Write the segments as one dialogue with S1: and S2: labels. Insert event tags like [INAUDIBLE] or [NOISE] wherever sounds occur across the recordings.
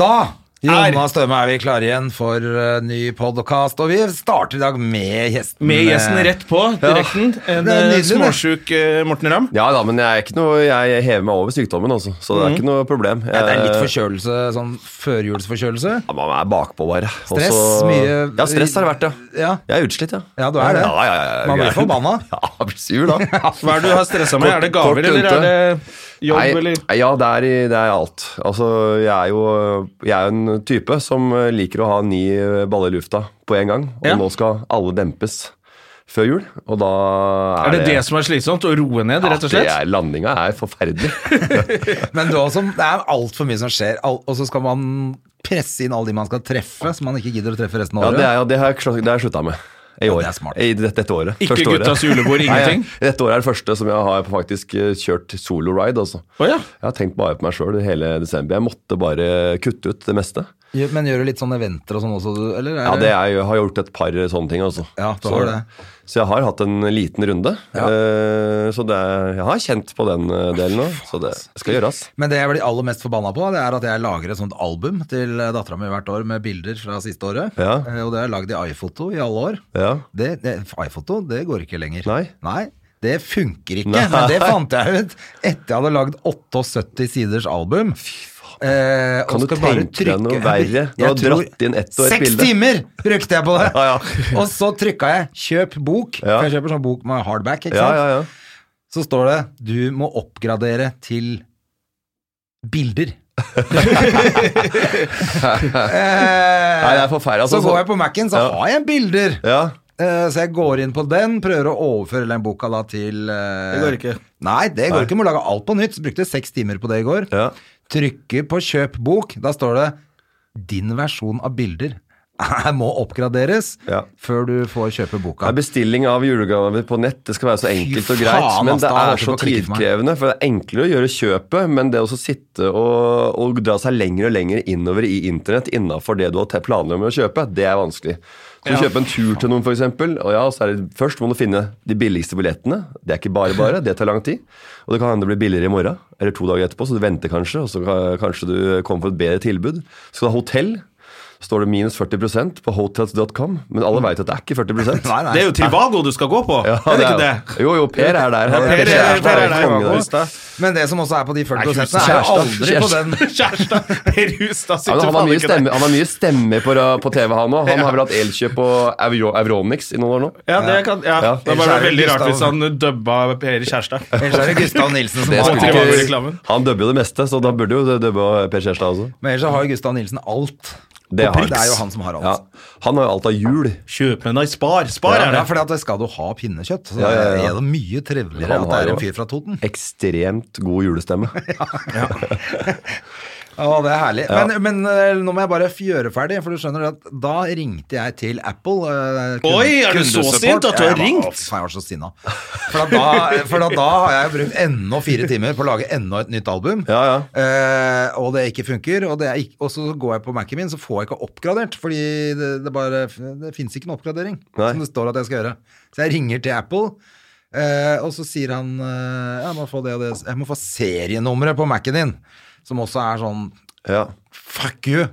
S1: Da Jonna Støme er vi klare igjen for eh, ny podkast, og vi starter i dag med gjesten. eh,
S2: Med gjesten
S3: eh,
S2: rett på direkten.
S1: Ja,
S2: En
S1: det er
S2: eh,
S1: nydelig, det.
S2: småsjuk eh, Morten Ramm.
S3: Ja da, men jeg, er ikke noe, jeg hever meg over sykdommen, altså. Så det er ikke noe problem.
S1: Mhm. Ja, det er litt
S3: Jeg-
S1: forkjølelse, sånn førjulsforkjølelse.
S3: Eh, ja, Man er bakpå, bare. Og
S1: Stress,
S3: så-
S1: mye-
S3: Ja, stress har det vært, ja.
S1: Ja.
S3: Jeg er utslitt, ja.
S1: Ja, du er det.
S3: Ja, ja, ja, ja.
S1: Man blir
S3: Jeg er-
S1: forbanna.
S3: [LAUGHS] Ja, jeg blir sur,
S1: [LAUGHS]
S3: da.
S2: Hva er det du har stressa med?
S3: Kort-
S2: Er det gaver,
S3: kort
S2: eller
S3: lunte.
S2: er det jobb,
S3: Nei,
S2: eller
S3: nei, Ja, det er, i- det er alt. Altså, jeg er jo jeg er jo en type som eh, liker å ha ni eh, baller i lufta på en gang. Og
S2: Ja.
S3: nå skal alle dempes før jul, og da er,
S2: Er det det som er slitsomt? Å roe ned, rett og slett?
S3: Ja, det er- landinga er forferdelig. [LAUGHS]
S1: Men det er, også, det er altfor mye som skjer, al- og så skal man presse inn alle de man skal treffe, som man ikke gidder å treffe resten av
S3: Ja,
S1: året.
S3: det, er, ja, det har jeg sl- det har jeg slutta med. I
S1: Ja,
S3: år.
S1: det er smart.
S3: I dette, dette året.
S2: Ikke
S3: Første året.
S2: guttas julebord, ingenting?
S3: Nei, jeg- dette året er det første som jeg har faktisk eh, kjørt solo ride. Altså.
S2: Å ja.
S3: Jeg har tenkt bare på meg sjøl hele desember. Jeg måtte bare kutte ut det meste.
S1: Gjør- Men gjør du litt sånne eventer og sånn også, du- eller? er
S3: Ja, det er, jeg har gjort et par sånne ting, altså.
S1: Ja, du
S3: så,
S1: har det.
S3: så jeg har hatt en liten runde.
S1: Ja.
S3: Eh, så det, er- jeg har kjent på den eh, delen nå, så det
S1: altså.
S3: skal gjøres.
S1: Men det jeg blir aller mest forbanna på, det er at jeg lager et sånt album til dattera mi hvert år med bilder fra siste året.
S3: Ja.
S1: Eh, Og det har jeg lagd i iPhoto i alle år.
S3: Ja.
S1: Det, det, iPhoto, det går ikke lenger.
S3: Nei.
S1: det funker ikke.
S3: Nei.
S1: Men det fant jeg ut etter jeg hadde lagd 78 siders album. Eh, og
S3: Kan du
S1: skal bare
S3: tenke deg noe
S1: trykke-
S3: verre? Du
S1: Jeg
S3: har
S1: tror-
S3: dratt inn ett og et
S1: Seks
S3: bilde.
S1: timer brukte jeg på det!
S3: [LAUGHS] Ja, ja.
S1: og så trykka jeg 'kjøp bok',
S3: Ja.
S1: for jeg kjøper sånn bok med hardback. ikke
S3: Ja,
S1: sant?
S3: ja, ja.
S1: så står det du må oppgradere til
S3: [LAUGHS]
S1: bilder. Eh,
S3: Nei, det er
S1: eh,
S3: forferdelig.
S1: så
S3: Altså,
S1: går jeg på Mac-en, så
S3: Ja.
S1: har jeg bilder.
S3: ja.
S1: Eh, så jeg går inn på den, prøver å overføre den boka da til eh,
S2: Det går ikke.
S1: Nei, det går ikke. Må lage alt på nytt. Så brukte jeg seks timer på det i går.
S3: Ja.
S1: Trykker på kjøp bok. Da står det din versjon av bilder [LAUGHS] må oppgraderes
S3: Ja.
S1: før du får kjøpe boka.
S3: Det er bestilling av julegaver på nett. Det skal være så enkelt og
S1: faen,
S3: greit. Men
S1: ass,
S3: det
S1: da holdt
S3: er
S1: jeg
S3: så
S1: på å klikke for meg.
S3: tidkrevende. For det er enklere å gjøre kjøpet, men det å så sitte og, og dra seg lenger og lenger innover i internett innafor det du har te- planlagt med å kjøpe, det er vanskelig. Så du kjøper en tur til noen, for eksempel, og ja, så er det, Først må du finne de billigste billettene. Det er ikke bare bare, det tar lang tid. Og det kan hende det blir billigere i morgen eller to dager etterpå, så du venter kanskje, og så ka- kanskje du kommer for et bedre tilbud. Så skal du ha hotell. så Står det minus 40 på hotels.com, men
S1: Mm.
S3: alle veit at det er ikke 40
S1: Nei, nei.
S2: Det er jo Trivago du skal gå på,
S3: ja,
S2: er det ikke det?
S3: Jo, jo, Per er der. Han
S2: Per er-
S3: kjæresten,
S2: Per er der,
S3: kongen av
S2: Håkon.
S3: Hustad.
S1: Men det som også er på de
S3: Nei,
S1: 40 prosentene, er jo
S3: kjæreste,
S1: aldri på
S3: kjæreste.
S2: [LAUGHS]
S1: den
S2: Kjæresta Per Hustad
S3: Ja, men
S2: sitter
S3: han, har
S2: faen
S3: mye
S2: ikke der.
S3: stemme, han har mye stemme på, ra- på TV, han òg. Han har vel hatt Elkjøp og Euro, Euronics i noen år nå.
S2: Ja, det kan, ja.
S3: Ja.
S2: Det var
S1: Ellers er det
S2: veldig rart
S1: Gustav.
S2: hvis han dubba Per Kjærstad.
S3: [LAUGHS]
S1: [LAUGHS] Ellers er det Gustav Nilsen som
S3: Det
S1: har
S2: skulle
S1: alt.
S2: ikke-
S3: skulle ikke,
S2: reklamen.
S3: han dubber jo det meste, så da burde jo det dubbe Per Kjærstad også.
S1: Men ellers så har jo Gustav Nilsen alt.
S3: Det,
S1: Og
S3: har
S1: det er jo han som har alt.
S3: Ja. Han har jo alt av jul.
S2: Kjøp med deg Spar. Spar
S1: Ja,
S2: er det.
S1: fordi at det skal du ha pinnekjøtt, så
S3: Ja, ja, ja.
S1: er det mye triveligere
S3: Han
S1: at det
S3: har
S1: er
S3: jo-
S1: en fyr fra Toten.
S3: Ekstremt god julestemme.
S1: Ja, det er herlig. Men, men, eh, nå må jeg bare gjøre ferdig, for du skjønner at da ringte jeg til Apple. eh, kunde-
S2: Oi, er du så
S1: kundesupport.
S2: sint at du
S1: Ja, jeg
S2: har
S1: var-
S2: ringt?
S1: Å, faen, jeg var så sinna. For, at da, for at da har jeg brukt enda fire timer på å lage enda et nytt album.
S3: Ja, ja.
S1: Eh, og det ikke funker, og, det er ikke, og så går jeg på Mac-en min, så får jeg ikke oppgradert, fordi det, det bare det finnes ikke noen oppgradering
S3: Nei.
S1: som det står at jeg skal gjøre. Så jeg ringer til Apple, eh, og så sier han eh, jeg, må få det, og det, jeg må få serienummeret på Mac-en din, som også er sånn
S3: ja.
S1: Fuck you!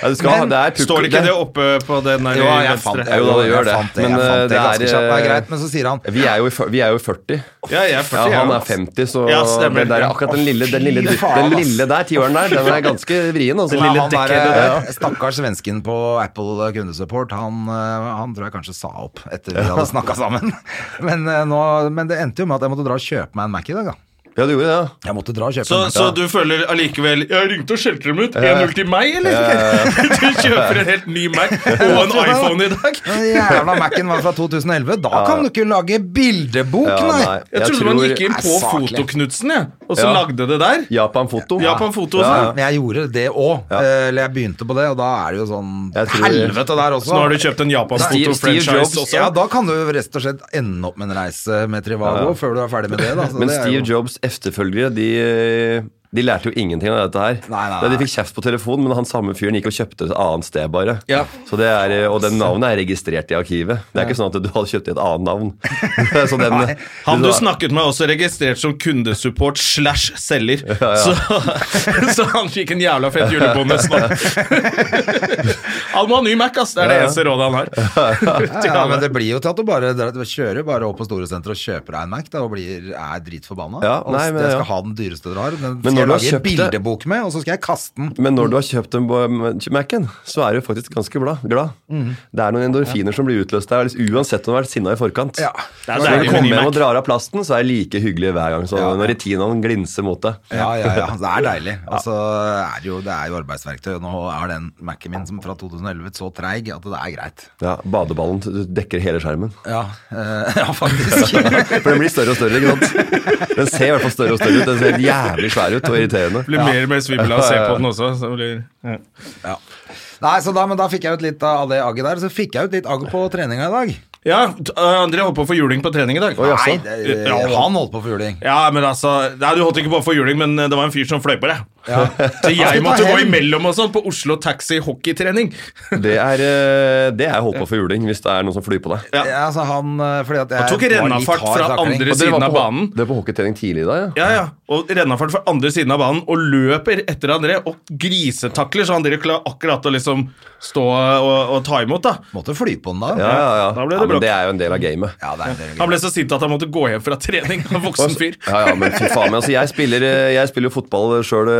S3: ja du skal, ha-
S1: Men
S3: det er pukk-
S2: Står ikke det oppe på den der
S1: Jo, jeg
S2: venstre?
S1: fant det.
S3: Jo da, det gjør
S1: jeg
S3: det.
S1: fant det.
S3: Men,
S1: jeg
S3: eh,
S1: fant det,
S3: det
S1: ganske
S3: er,
S1: kjapt. det er
S3: eh,
S1: greit, men så sier han
S3: Vi er jo, i fyr- vi er jo 40.
S2: Ja, [LAUGHS] jeg er 40.
S3: Ja, han er
S2: jeg.
S3: 50, så
S2: Ja, stemmer.
S3: den der, akkurat den lille, den lille,
S1: Fy faen,
S3: den
S1: ass.
S3: lille der, tiåren der, den
S2: [LAUGHS]
S3: er ganske vrien. Altså.
S2: Den lille
S1: han der,
S2: dekkheadet der.
S1: eh, stakkars svensken på Apple kundesupport, han, eh, han tror jeg kanskje sa opp [LAUGHS] etter vi hadde snakka sammen. Men, eh, nå, men det endte jo med at jeg måtte dra og kjøpe meg en Mac i dag, da.
S3: Ja, du gjorde det, ja.
S1: Jeg måtte dra og kjøpe
S2: Så,
S1: den.
S2: så du føler allikevel Jeg ringte og skjelte dem ut. 1-0 til meg, eller? [LAUGHS] Du kjøper en helt ny Mac og en iPhone i dag.
S1: Den jævla Mac-en var fra 2011. Da kan du ikke lage bildebok,
S3: Ja,
S1: nei.
S3: nei.
S2: Jeg
S3: Jeg
S2: trodde man
S3: tror-
S2: gikk inn på
S1: Nei, saklig.
S2: Fotoknudsen, jeg, og så
S3: Ja.
S2: lagde det der.
S3: Japan Foto.
S2: Japan Foto,
S3: Ja,
S2: sånn.
S1: Men jeg gjorde det òg.
S3: Ja.
S1: Eller jeg begynte på det, og da er det jo sånn
S3: Jeg tror-
S1: helvete der også.
S2: Så nå har du kjøpt en Japan
S3: Steve- Steve Jobs,
S2: Foto-franchise også.
S1: Ja, da kan du rett og slett ende opp med en reise med Trivago før du er ferdig med det. Da. Så
S3: Men
S1: det er
S3: Steve
S1: jo-
S3: Jobs' efterfølgere, de, de lærte jo ingenting av dette her.
S1: Nei, nei,
S3: De fikk kjeft på telefonen, men han samme fyren gikk og kjøpte et annet sted, bare.
S2: Ja.
S3: Så det er, eh, og den navnet er registrert i arkivet. Det er ikke sånn at du hadde kjøpt et annet navn. [LAUGHS] Så den,
S2: Han du snakket med er også registrert som kundesupport slash selger. Så, [LAUGHS] så han fikk en jævla fett julebonus nå. Han må ha ny Mac, ass. Det er
S3: Ja,
S2: det
S3: ja.
S2: eneste rådet han [LAUGHS] har.
S1: Ja, ja, men det blir jo til at du bare du kjører bare opp på Storesenteret og kjøper deg en Mac da, og blir, er dritforbanna.
S3: Ja,
S1: og
S3: nei, men
S1: jeg
S3: ja.
S1: skal ha den dyreste dere har. Den
S3: Men
S1: skal
S3: når du
S1: jeg
S3: har
S1: lage
S3: kjøpt det-
S1: bildebok med, og så skal jeg kaste den.
S3: Men når du har kjøpt en bo- Mac-en, så er du faktisk ganske bla- glad.
S1: Mm.
S3: Det er noen endorfiner som blir utløst der, liksom, uansett om du har vært sinna i forkant.
S1: Ja.
S2: Det
S3: Så
S2: er
S3: når
S2: deilig
S3: du
S2: med
S3: kommer
S2: ny
S3: hjem og
S2: Mac.
S3: drar av plasten, så er det like hyggelig hver gang. Så
S1: Ja, ja.
S3: Når retinaen glinser mot deg.
S1: Ja, ja, [LAUGHS] ja. Det er deilig. Og så er det jo, det er jo arbeidsverktøy. og Nå er den Mac-en min som fra 2011 så treig at det er greit.
S3: [LAUGHS] Ja, Badeballen du dekker hele skjermen.
S1: Ja, eh, [LAUGHS] ja faktisk. [LAUGHS]
S3: For den blir større og større. ikke sant? Den ser i hvert fall større og større ut. Den ser jævlig svær ut og irriterende.
S2: Blir mer og mer svimmel av å se på den også. Så blir, ja.
S1: ja. Nei, så da, men da fikk jeg ut litt av det agget der. Så fikk jeg ut litt agg på treninga i dag.
S2: ja, t- uh, André holdt på å få juling på trening i dag.
S3: Oi, jaså?
S1: Nei, det,
S2: Ja,
S1: han holdt på for juling.
S2: Ja, men altså Nei, Du holdt ikke på å få juling, men eh, det var en fyr som fløy på deg.
S1: [LAUGHS] Ja.
S3: [LAUGHS]
S2: Så jeg
S1: skulle ta
S2: måtte gå
S1: hevn.
S2: imellom og sånn på Oslo Taxi hockeytrening.
S3: Det er, eh, det er holdt på for juling hvis det er noen som flyr på deg.
S2: Ja.
S1: Ja, altså han, eh, fordi at jeg
S2: Han tok
S1: var litt
S2: rennafart
S1: hard
S2: fra
S1: takling.
S2: andre
S3: Og dere
S2: siden
S3: var
S2: av
S3: på-
S2: banen.
S3: Dere var på hockeytrening tidlig i dag, ja?
S2: Ja, ja. Og rennafart fra andre siden av banen og løper etter André og grisetakler, så André klarer akkurat å liksom stå og, og ta imot. da
S1: Måtte fly på den da.
S3: Ja, ja, ja.
S2: Da ble det
S3: ja men
S2: bråk.
S3: det er jo en del av gamet.
S1: Ja, det er en del
S2: Han
S1: greier.
S2: ble så sint at han måtte gå hjem fra trening. En voksen fyr.
S3: Ja, ja, men fy faen. Men altså, jeg spiller eh, Jeg spiller jo fotball sjøl,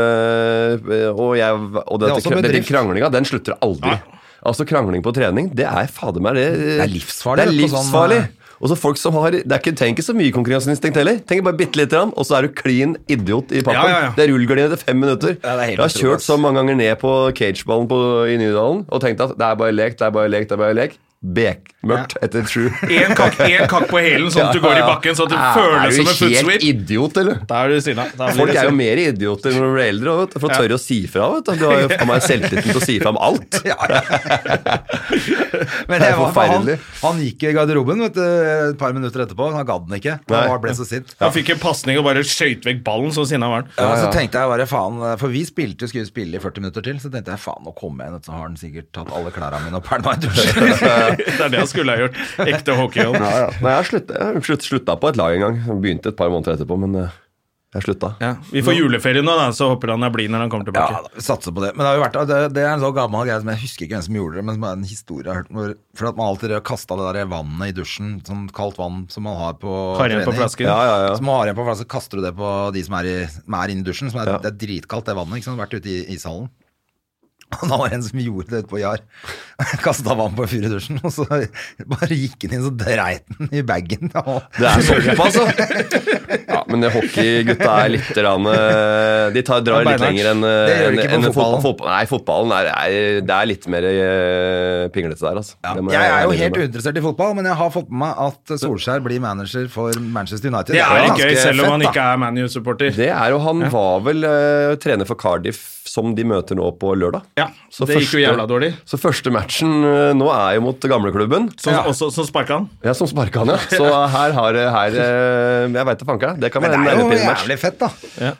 S3: og, jeg, og
S1: er
S3: dette,
S1: også
S3: kra- dette
S1: bedrift.
S3: kranglinga, den slutter aldri.
S2: Nei.
S3: Altså, krangling på trening, det er fader meg det eh,
S1: Det er livsfarlig,
S3: Det er
S1: vet du, på sånn,
S3: livsfarlig.
S1: eh,
S3: Og så folk som har Det er ikke, tenker ikke så mye konkurranseinstinkt heller. Tenker bare bitte lite grann, og så er du klin idiot i pappen.
S2: Ja, ja, ja.
S3: Det er rullegardin etter fem minutter.
S1: Ja, det er helt
S3: jeg har
S1: utrolig,
S3: kjørt
S1: ass.
S3: så mange ganger ned på cageballen på, i Nydalen og tenkt at det er bare lek, det er bare lek, det er bare lek. Bekmørkt etter sju.
S2: Én kakk, en kakk på hælen, sånn at du går i bakken,
S3: [LAUGHS]
S2: sånn at du
S3: Ja,
S2: føler som en
S3: Er du
S2: footsweep.
S3: helt idiot, eller?
S2: Da er du sinna. Da blir
S3: Folk
S2: det
S3: er jo
S2: sinna.
S3: mer idioter når de blir eldre, vet du, for å tørre å si fra. Vet du. du [LAUGHS] har jo faen meg selvtilliten til å si fra om alt.
S1: Ja, ja.
S3: Det
S1: Men jeg
S3: er
S1: var, han,
S3: forferdelig.
S1: han gikk i garderoben vet du, et par minutter etterpå. Han gadd den ikke.
S3: Nei.
S1: Han var- ble så sint.
S2: Han fikk en pasning og bare skøyt vekk ballen, så sinna var han.
S1: Ja, Så tenkte jeg bare faen, for vi spilte skulle vi spille i 40 minutter til, så tenkte jeg faen, nå kommer jeg inn, så har han sikkert tatt alle klærne mine og pælma i dusjen.
S2: [LAUGHS] Det er det han skulle ha gjort. Ekte hockeyhånd.
S3: Nei, jeg slutta, jeg slutt- slutta på et lag en gang. Jeg Begynte et par måneder etterpå, men eh, jeg slutta.
S2: Ja. Vi får juleferie nå, da, så håper han er blid når han kommer tilbake.
S1: Ja, da, vi satser på det. Men det, har jo vært, det, det er en så gammel greie som jeg husker ikke hvem som gjorde det, men som er en historie jeg har hørt. hvor- For at man alltid kasta det der vannet i dusjen, sånn kaldt vann som man har på
S2: Har igjen på flasken.
S3: Ja, ja, ja.
S1: Så man har igjen på flasken, så kaster du det på de som er, i, som er inne i dusjen. Som er,
S3: Ja.
S1: Det er dritkaldt, det vannet. Ikke sant? Vært ute i ishallen. [LAUGHS] Og da var det en som gjorde det ute på Jar. [LAUGHS] Kasta vann på en fyr i dusjen, og så bare gikk han inn, så dreit han i bagen. Og
S3: Det
S1: [LAUGHS]
S3: er såpass, altså. [LAUGHS] Ja, men det hockeygutta er litt rann, eh, De tar, drar
S2: Ja,
S3: litt
S2: beinhardt.
S3: lenger enn eh,
S1: Det gjør
S3: enn-
S1: de ikke på
S3: enn
S1: fotballen.
S3: fotball- Nei, fotballen er, er, det er litt mer eh, pinglete der, altså.
S1: Ja.
S3: Det må
S1: Jeg er jo
S3: ærlig
S1: helt
S3: innrømme.
S1: uinteressert i fotball, men jeg har fått med meg at Solskjær blir manager for Manchester United.
S2: Det er litt
S1: ganske
S2: gøy, selv om han
S1: fett, da.
S2: ikke er ManU-supporter.
S3: Det er jo Han var vel eh, trener for Cardiff, som de møter nå på lørdag.
S2: Ja,
S3: Så
S2: det gikk jo
S3: første-
S2: jævla dårlig.
S3: Så første matchen eh, nå er jo mot gamleklubben.
S2: Så,
S1: Ja.
S2: også, så sparka han.
S3: Ja, som sparka han, ja. Så
S2: [LAUGHS]
S3: her har her, eh, Jeg veit da fanker. Det kan
S1: Men
S3: være en
S1: det er jo
S3: nervepirrematch.
S1: jævlig fett, da.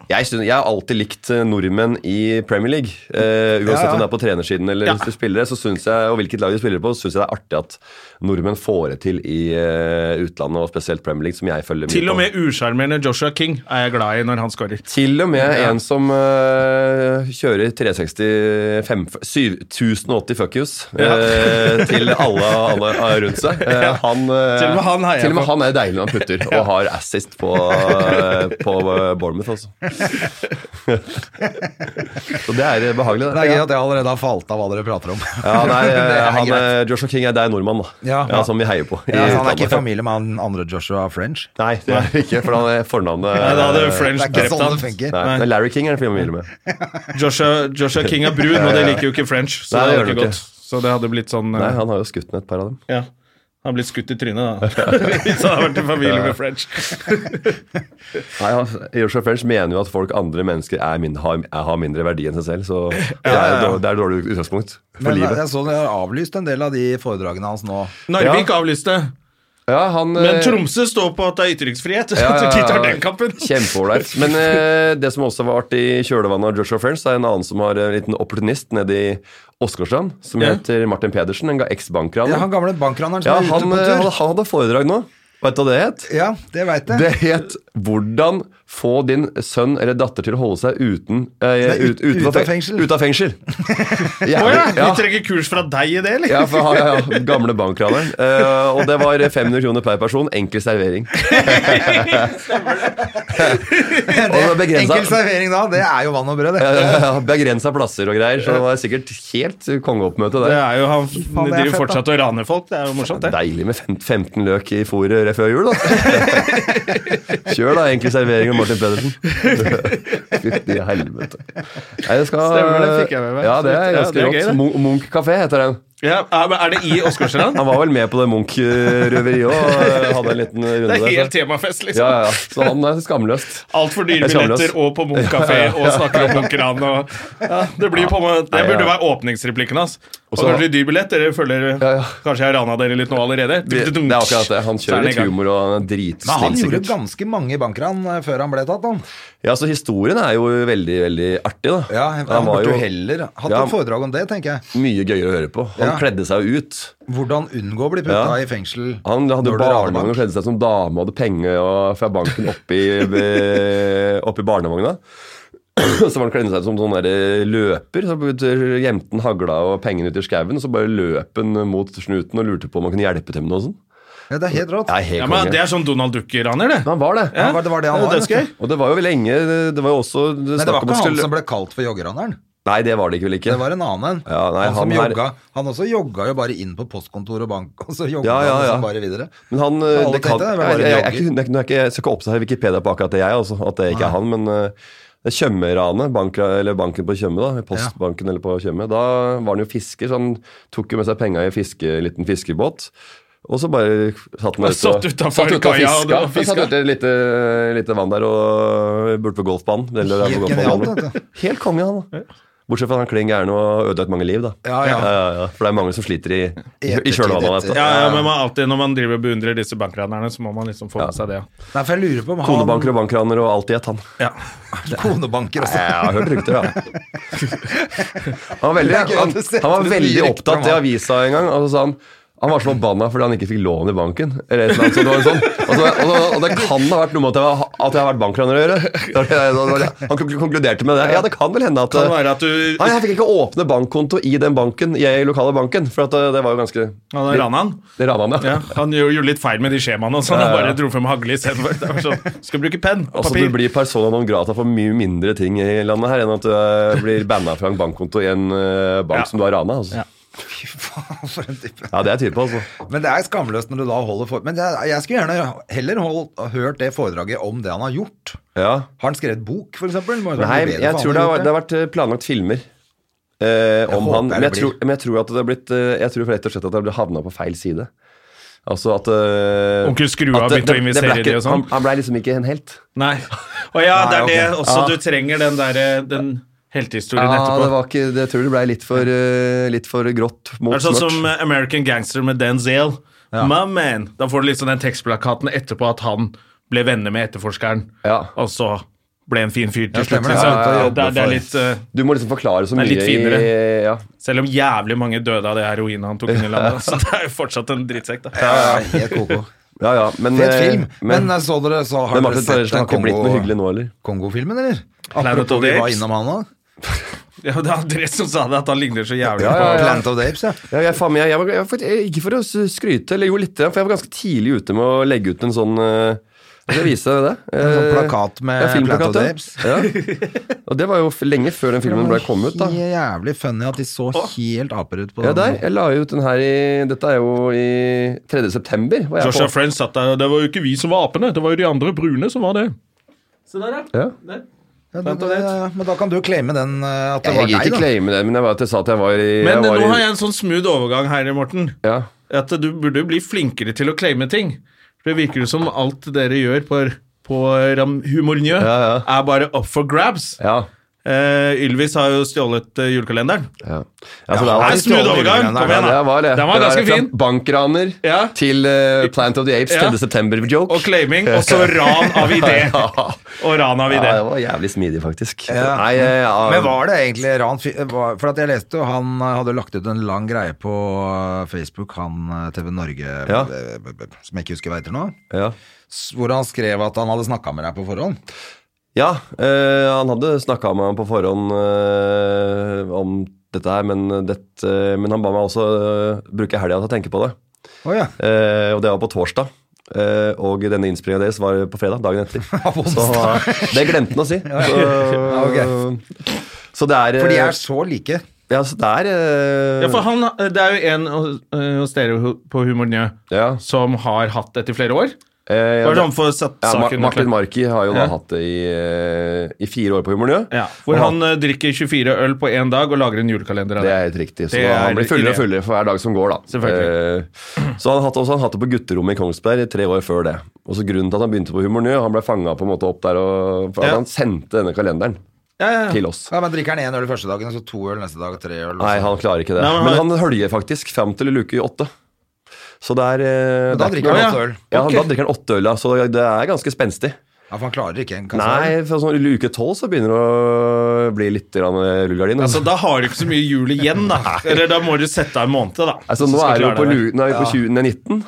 S3: Jeg, synes- jeg har alltid likt eh, nordmenn i Premier League. Eh, uansett
S1: Ja, ja.
S3: om det er på trenersiden eller
S2: Ja.
S3: hvis de spiller, så synes jeg, og hvilket lag de spiller på, syns jeg det er artig at nordmenn får det til i eh, utlandet, og spesielt Premier League, som jeg følger mye
S2: Til og
S3: på.
S2: med usjarmerende Joshua King er jeg glad i når han scorer.
S3: Til og med en som eh, kjører 360 fem- 7080 fuck yous eh, til alle, alle rundt seg. Eh, han, eh,
S2: Til og med han heier
S3: til og med
S2: på.
S3: han er deilig når han putter, og har assist på, eh, på Bournemouth,
S1: [LAUGHS]
S3: altså. Så det er eh, behagelig,
S1: Det er
S3: det.
S1: gøy at jeg allerede har falt av hva dere prater om.
S3: Ja, nei,
S1: [LAUGHS] Det
S3: eh,
S1: er
S3: han,
S1: greit.
S3: eh, Joshua King er deg nordmann, da.
S1: Ja.
S3: som vi heier på. i
S1: ja, så han er
S3: utlandet.
S1: ikke i familie med han andre Joshua French.
S3: Nei, det er det ikke, for han er fornavnet
S2: Nei, da hadde
S3: Eh,
S1: Det
S2: French
S1: er ikke
S2: drept
S1: sånn det
S2: han.
S1: funker.
S3: Nei,
S2: Nei.
S3: men Larry King er det familie med.
S2: Joshua, Joshua King er brun, og det liker jo ikke French. Så
S3: Nei,
S2: det
S3: det
S2: hadde
S3: gjør
S2: ikke
S3: det
S2: gått. Så det hadde blitt sånn eh,
S3: Nei, han har jo skutt ned et par av dem.
S2: Ja. Han blitt skutt i trynet, da.
S3: [LAUGHS]
S2: Hvis han hadde vært i familie med French.
S3: Nei, han- Joshua French mener jo at folk, andre mennesker, er min, har, er, har mindre verdi enn seg selv. Så det er et dårlig, det er et dårlig utgangspunkt for
S1: Men eh,
S3: livet.
S1: jeg så dere har avlyst en del av de foredragene hans nå.
S2: Narvik avlyste,
S3: Ja, han,
S2: men
S3: eh,
S2: Tromsø står på at det er ytringsfrihet.
S3: ja, ja,
S2: Så [LAUGHS] de tar
S3: ja.
S2: den kampen.
S3: Kjempeålreit. Men eh, det som også var artig i kjølvannet av Joshua French, det er en annen som har en liten opportunist nede i Åsgårdstrand, som
S2: Ja.
S3: heter Martin Pedersen. En eks-bankraner.
S1: Ja, han gamle bankraneren som
S3: Ja,
S1: er ute
S3: han,
S1: på
S3: eh, han,
S1: tur.
S3: han hadde foredrag nå. Vet du hva det het?
S1: Ja, det veit jeg.
S3: Det het 'Hvordan få din sønn eller datter til å holde seg uten, eh,
S1: Nei,
S3: ut,
S1: ut-
S3: utenfor
S1: ut av
S3: fe-
S1: fengsel.
S3: Ut av
S1: [LAUGHS]
S3: fengsel.
S2: Å ja,
S3: Jævlig-
S2: vi
S3: ja.
S2: trenger kurs fra deg i det, eller?
S3: Ja, for han, ja, ja, gamle bankraneren. Eh, og det var 500 kroner per person, enkel servering. og det var
S1: Enkel
S3: begrensa,
S1: servering da, det er jo vann og brød, det.
S3: ja, begrensa plasser og greier, så det var sikkert helt kongeoppmøte der.
S2: Det er jo Han
S1: det er
S2: driver
S1: fett,
S2: fortsatt og raner folk. Det er jo morsomt, det.
S3: Deilig med fem- 15 løk i fôret rett før
S2: [LAUGHS]
S3: jul, da. Kjør da, enkel servering og Martin
S2: [LAUGHS]
S3: Pedersen. Fytti helvete. Nei, jeg skal,
S2: Stemmer, det fikk jeg med meg.
S3: Ja, det er
S2: Ja,
S3: ganske
S2: det er gøy,
S3: rått.
S2: det.
S3: Mun- Munch kafé heter den.
S2: Ja, er er det i Åsgårdstrand?
S3: Han var vel med på det Munch-røveriet òg, og hadde en liten runde
S2: Det er
S3: der.
S2: helt
S3: Så.
S2: temafest,
S3: altså. Ja, ja,
S2: liksom.
S3: ja. Så han er skamløst.
S2: Altfor dyre
S3: Jeg skammer oss.
S2: billetter og på Munch kafé og snakker om Munch-ran og ja, Det blir på en måte Det
S3: Nei,
S2: burde
S3: ja.
S2: være åpningsreplikken hans. Og
S3: så-
S2: kanskje dyr billett. Dere føler
S3: ja.
S2: Kanskje jeg har rana dere litt nå allerede?
S3: Det, det er akkurat det. Han
S2: Så er
S3: kjører
S2: den i
S3: litt
S2: gang.
S3: humor og han er
S1: Men
S3: dritsnill,
S1: han gjorde
S3: sikkert.
S1: ganske mange bankran eh, før han ble tatt, han.
S3: Ja, så historien er jo veldig, veldig artig, da.
S1: Ja, han,
S3: var
S1: burde
S3: jo
S1: jo heller hatt
S3: Ja.
S1: et foredrag om det, tenker jeg.
S3: mye gøyere å høre på. Han
S1: Ja.
S3: kledde seg jo ut.
S1: Hvordan unngå å bli putta
S3: Ja.
S1: i fengsel.
S3: Han hadde jo
S1: når du raner
S3: barnevogn og
S1: bank.
S3: kledde seg som dame og hadde penger og fra banken oppi,
S1: [LAUGHS]
S3: oppi barnevogna. [CLEARS THROAT] Så var han kledd seg som sånn der løper. Så gjemte han hagla og pengene ut i skauen. og Så bare løp han mot snuten og lurte på om han kunne hjelpe til med noe sånt.
S1: Ja, det er helt rått.
S3: Det er helt
S2: Ja, men
S3: konge.
S2: Det er sånn Donald Duck-raner, det.
S3: Han var det.
S1: Ja, det var det han
S2: det er
S1: var. vet du.
S2: dødsgøy.
S3: Og det var jo lenge Det var jo også
S1: Men det var ikke han som
S3: ble...
S1: ble kalt for joggeraneren.
S3: Nei, det var det ikke vel ikke.
S1: Det var en annen en.
S3: Ja, nei,
S1: han, som
S3: han er-
S1: jogga. Han også jogga jo bare inn på postkontor og bank, [LAUGHS] og så jogga
S3: Ja, ja,
S1: han
S3: ja.
S1: liksom bare videre.
S3: Men han eh,
S1: Alle
S3: det kan,
S1: tenkte det
S3: jeg,
S1: var
S3: jeg,
S1: bare
S3: jeg, er
S1: jogger.
S3: ikke- det er ikke- nå er ikke- jeg skal ikke oppsette Wikipedia på akkurat det, jeg. Altså, at det ikke er han. Men eh, det Tjøme-ranet, bank- eller banken på Tjøme, da, postbanken eller på Tjøme, da var han jo fisker, så han tok jo med seg penga i fiske, en liten fiskebåt. Og så bare satt han
S2: Og
S3: ute
S2: satt utenfor
S3: satt ute og
S2: kaia
S3: fiska.
S2: og fiska.
S3: Satt ute i lite, lite vann der og borte ved golfbanen. eller der
S1: Helt
S3: hvor
S1: genialt,
S3: golfbanen var.
S1: vet
S3: Helt konge, han. da. Bortsett fra at han klin gæren og ødelagt mange liv, da.
S1: Ja, ja.
S3: ja, For det er mange som sliter i, i, i
S1: Ettertid,
S3: kjølvannet av dette.
S2: Ja, ja, men man alltid, Når man driver og beundrer disse bankranerne, så må man liksom få med seg det.
S1: Nei, for jeg lurer på om han
S3: Konebanker og bankraner og alt i ett, han.
S2: Ja.
S1: [LAUGHS] Konebanker også.
S3: Jeg har hørt rykter, ja. Han var veldig,
S1: Det er gøy at
S3: han,
S1: du setter
S3: han var
S1: ut
S3: veldig
S1: mye rykter om
S3: opptatt i
S1: han.
S3: avisa en gang. Og så sa han han var så forbanna fordi han ikke fikk lån i banken. Eller et eller annet, så det var en sånn. og, så, og, så, og det kan ha vært noe med at jeg, var, at jeg har vært bankraner å gjøre. Det var det- det var det- Han konkluderte med det. Ja, det kan vel hende at,
S2: Kan være at du-
S3: Nei, jeg fikk ikke åpne bankkonto i den banken, i den lokale banken. For at eh, det var jo ganske
S2: Han
S3: Det-
S2: ranan.
S3: Det rana han, ja.
S2: Ja, han gjorde gjorde litt feil med de skjemaene og sånn. Han bare dro frem hagle istedenfor. Det var Sånn, skal bruke penn og
S3: Altså, du
S2: papir.
S3: blir persona non grata for mye mindre ting i landet her enn at du eh, blir banna fra en bankkonto i en eh, bank
S2: Ja.
S3: som du har rana. Altså. Ja.
S1: Fy faen, for en type.
S3: det er jeg type, altså.
S1: Men det er skamløst når du da holder for... Men jeg, jeg skulle gjerne heller holdt, hørt det foredraget om det han har gjort.
S3: Ja.
S1: Har han skrevet bok, for eksempel? Må jo være
S3: Nei,
S1: bedre
S3: jeg
S1: for
S3: tror
S1: han
S3: det
S1: å
S3: har,
S1: gjort
S3: det har vært eh, planlagt filmer. eh, om
S1: håper
S3: han, men,
S1: det
S3: jeg tror,
S1: blir.
S3: men jeg tror at det har blitt eh, Jeg tror rett og slett at det har havna på feil side. Altså at eh,
S2: Onkel Skrue
S3: at
S2: har
S3: det-
S2: begynt å
S3: det- det
S2: investere
S3: ble
S2: i det og
S3: ikke- Han,
S2: sånn.
S3: han blei liksom ikke en helt.
S2: Nei. Å ja, det
S1: Nei,
S2: er
S1: ok.
S2: det også. Du trenger den derre den heltehistorien
S3: Ja, det
S2: etterpå.
S3: var ikke, det, jeg tror det blei litt, for, eh, litt for grått mot
S2: Det er sånn
S3: mørkt.
S2: som eh, American Gangster med Denzel. My man. Da får du liksom den tekstplakaten etterpå at han ble venner med etterforskeren,
S3: Ja.
S2: og så ble en fin fyr til slutt.
S1: stemmer det.
S2: liksom.
S3: Ja, ja, ja.
S2: Det, er, det er litt eh,
S3: Du må liksom forklare så mye
S2: Det er litt
S3: i
S2: finere.
S3: ja.
S2: Selv om jævlig mange døde av det heroinet han tok inn i landet. [LAUGHS] Så det er jo fortsatt en drittsekk, da.
S1: det. Helt koko.
S3: ja, ja. Men,
S1: Fet
S3: eh,
S1: film. Men, eh, så dere så har
S3: Men
S1: dere
S3: Martin
S1: sett
S3: Pedersen
S1: den
S3: har ikke blitt noe hyggelig
S1: Kongo-
S3: nå, eller?
S1: Kongo-filmen, eller?
S2: Planet of
S1: Apropos
S2: the
S1: vi var
S2: Apes.
S1: innom han nå.
S2: Ja, det er André som sa det, at han ligner så jævlig
S3: Ja, ja, ja.
S2: på
S1: Planet of the Apes, ja.
S3: Ja, jeg, faen, meg, jeg, var, jeg, var faktisk- Ikke for å s- skryte, eller jo litt, for jeg var ganske tidlig ute med å legge ut en sånn eh, Skal jeg vise deg det?
S1: [LAUGHS] En sånn
S3: Eh,
S1: plakat med
S3: ja, filmplakat,
S1: Planet of the
S3: ja.
S1: Apes.
S3: Ja. Og det var jo f- lenge før den filmen ble kommet. da
S1: Det var Jævlig funny at de så helt aper ut på
S3: Ja, der.
S1: den.
S3: Jeg la jo ut den her i Dette er jo i 3. september. Var jeg
S2: Joshua
S3: på.
S2: Friends satt der, og det var jo ikke vi som var apene, det var jo de andre brune som var det. Se der,
S3: Ja.
S2: Der.
S1: Ja, da- da- ja, men da kan du claime den eh, at det
S3: Jeg
S1: var
S3: gidder
S1: deg,
S3: ikke
S1: da.
S3: claime det, men jeg, var, at jeg sa at jeg var i
S2: Men
S3: jeg var
S2: nå
S3: i-
S2: har jeg en sånn smooth overgang her, Morten.
S3: ja.
S2: At du burde jo bli flinkere til å claime ting. For det virker jo som alt dere gjør på, på Ram Humornjø,
S3: Ja,
S2: er bare up for grabs.
S3: Ja.
S2: Eh, Ylvis har jo stjålet eh, julekalenderen.
S3: ja. Altså, det er
S2: Det er
S3: alltid-
S2: smooth overgang! Kom igjen,
S3: Ja,
S2: da.
S3: det var det.
S2: Den var
S3: Det
S2: ganske
S3: der
S2: fin.
S3: Fra bankraner
S2: Ja.
S3: til eh, Plant of the Apes
S2: Ja.
S3: 3. september-joke.
S2: Og claiming,
S3: [LAUGHS]
S2: og så ran av idé. Og ran av
S3: Ja,
S2: idé.
S3: det var jævlig smidig, faktisk.
S1: Ja.
S3: Nei, eh, ja.
S1: Men var det egentlig ran? fy- var- For at jeg leste jo, han eh, hadde lagt ut en lang greie på eh, Facebook, han eh, TV Norge,
S3: Ja.
S1: eh, b- b- som jeg ikke husker hva heter nå,
S3: Ja,
S1: s- hvor han skrev at han hadde snakka med deg på forhånd.
S3: ja eh, han hadde snakka med ham på forhånd eh, om dette her, men, dette, men han ba meg også eh, bruke helga til å tenke på det.
S1: Å ja.
S3: Eh, og det var på torsdag. Eh, og denne innspillinga deres var på fredag, dagen etter. så, det glemte han å si. Så, så det er eh,
S1: For de er så like.
S3: Ja, så det er eh,
S2: Ja, for han, Det er jo en eh, hos dere ho- på Humornjø
S3: ja,
S2: som har hatt dette i flere år.
S3: eh, ja,
S2: Bare
S3: det-
S2: sånn for å sette
S3: ja, Ma-
S2: saken
S3: Martin Marki har jo da
S2: Ja.
S3: hatt det i, eh, i fire år på Humornø.
S2: ja, Hvor
S3: Og
S2: han eh, drikker 24 øl på én dag og lager en julekalender
S3: Det
S2: av det.
S3: er helt riktig. Så
S2: Det
S3: han
S2: er
S3: blir fullere
S2: ideen.
S3: og fullere for hver dag som går, da.
S2: Selvfølgelig.
S3: Eh, Så han hadde også han hatt det på gutterommet i Kongsberg i tre år før det. Og så grunnen til at han begynte på Humornø, han ble fanga på en måte opp der, og, for at
S2: Ja.
S3: han sendte denne kalenderen
S2: Ja, ja, ja.
S3: til oss.
S1: Ja, Men drikker han én øl første dagen, og så to øl neste dag, og tre øl. og
S3: Nei,
S1: så-
S3: han klarer ikke det.
S2: Nei, men
S3: men,
S2: han-
S3: han høljer faktisk fram til luke åtte. Så det er eh,
S1: Men da
S3: det er-
S1: drikker han
S2: Å, ja.
S1: åtte øl.
S3: ja,
S2: Ok.
S3: Da drikker han åtte øl, da, så det er ganske spenstig.
S1: Ja, For han klarer ikke en kasse øl.
S3: Nei, for sånn i uke tolv så begynner det å bli litt grann rullegardin.
S2: Altså,
S3: Altså.
S2: Da har du ikke så mye jul igjen, da. Eller da må du sette av en måned, da.
S3: Altså,
S2: Så
S3: nå
S2: skal
S3: er vi
S2: klare
S3: jo på,
S2: deg.
S3: lu- nå er vi på 20, nei, 19.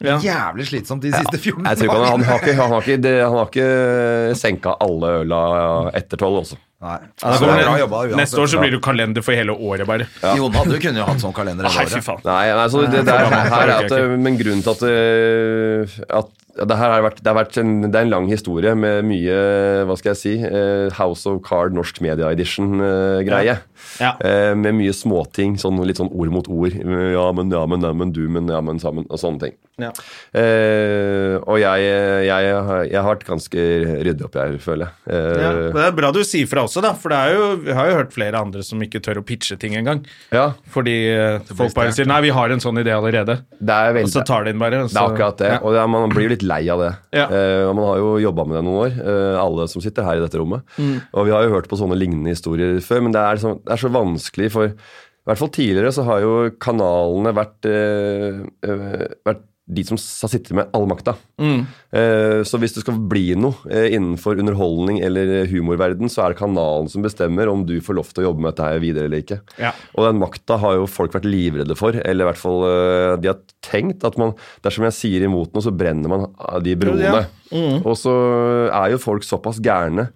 S2: Ja.
S1: Jævlig slitsomt de siste 14
S3: Jeg tror ikke han, han har ikke, han har ikke, det, han har ikke senka alle øla etter tolv altså. også.
S1: Nei.
S2: Da
S1: Så det
S2: kommer
S1: er
S2: det-
S1: bra jobba uansett.
S2: Neste år så blir det jo kalender for hele året, bare.
S1: Jon hadde jo kunne jo hatt sånn kalender hele
S2: Nei, fy
S1: året.
S2: faen.
S3: Nei, nei så det, det er, her er at, det- men grunnen til at, det- at det her har vært, det har vært en, det er en lang historie med mye hva skal jeg si, eh, House of Card norsk media edition-greie.
S2: Ja.
S3: Eh, Med mye småting, sånn, litt sånn ord mot ord. Ja, men, ja, men, ja, men, du, men, ja, men, sammen, og sånne ting.
S2: Ja.
S3: Eh, og jeg, jeg, har- jeg har vært ganske ryddig opp, jeg, føler jeg.
S2: Ja.
S3: Eh,
S2: Det er bra du sier fra også, da. For det er jo, vi har jo hørt flere andre som ikke tør å pitche ting engang.
S3: ja.
S2: Fordi eh, folk bare sier 'nei, vi har en sånn idé allerede'.
S3: Det er veldig
S2: Og så tar de den bare. og
S3: Det
S2: så-
S3: er akkurat det.
S2: Ja.
S3: Og det er, man blir jo litt lei av det.
S2: Ja.
S3: Eh, og man har jo jobba med det noen år, eh, alle som sitter her i dette rommet.
S2: Mm.
S3: Og vi har jo hørt på sånne lignende historier før, men det er, sånn- det er så vanskelig for I hvert fall tidligere så har jo kanalene vært, eh, eh, vært de som s- sitter med all makta.
S2: Mm.
S3: Eh, så hvis det skal bli noe eh, innenfor underholdning eller eh, humorverden, så er det kanalen som bestemmer om du får lov til å jobbe med dette her videre eller ikke.
S2: Ja.
S3: Og den makta har jo folk vært livredde for, eller i hvert fall øh, de har tenkt at man, dersom jeg sier imot noe, så brenner man av de broene. Og så er jo folk såpass gærne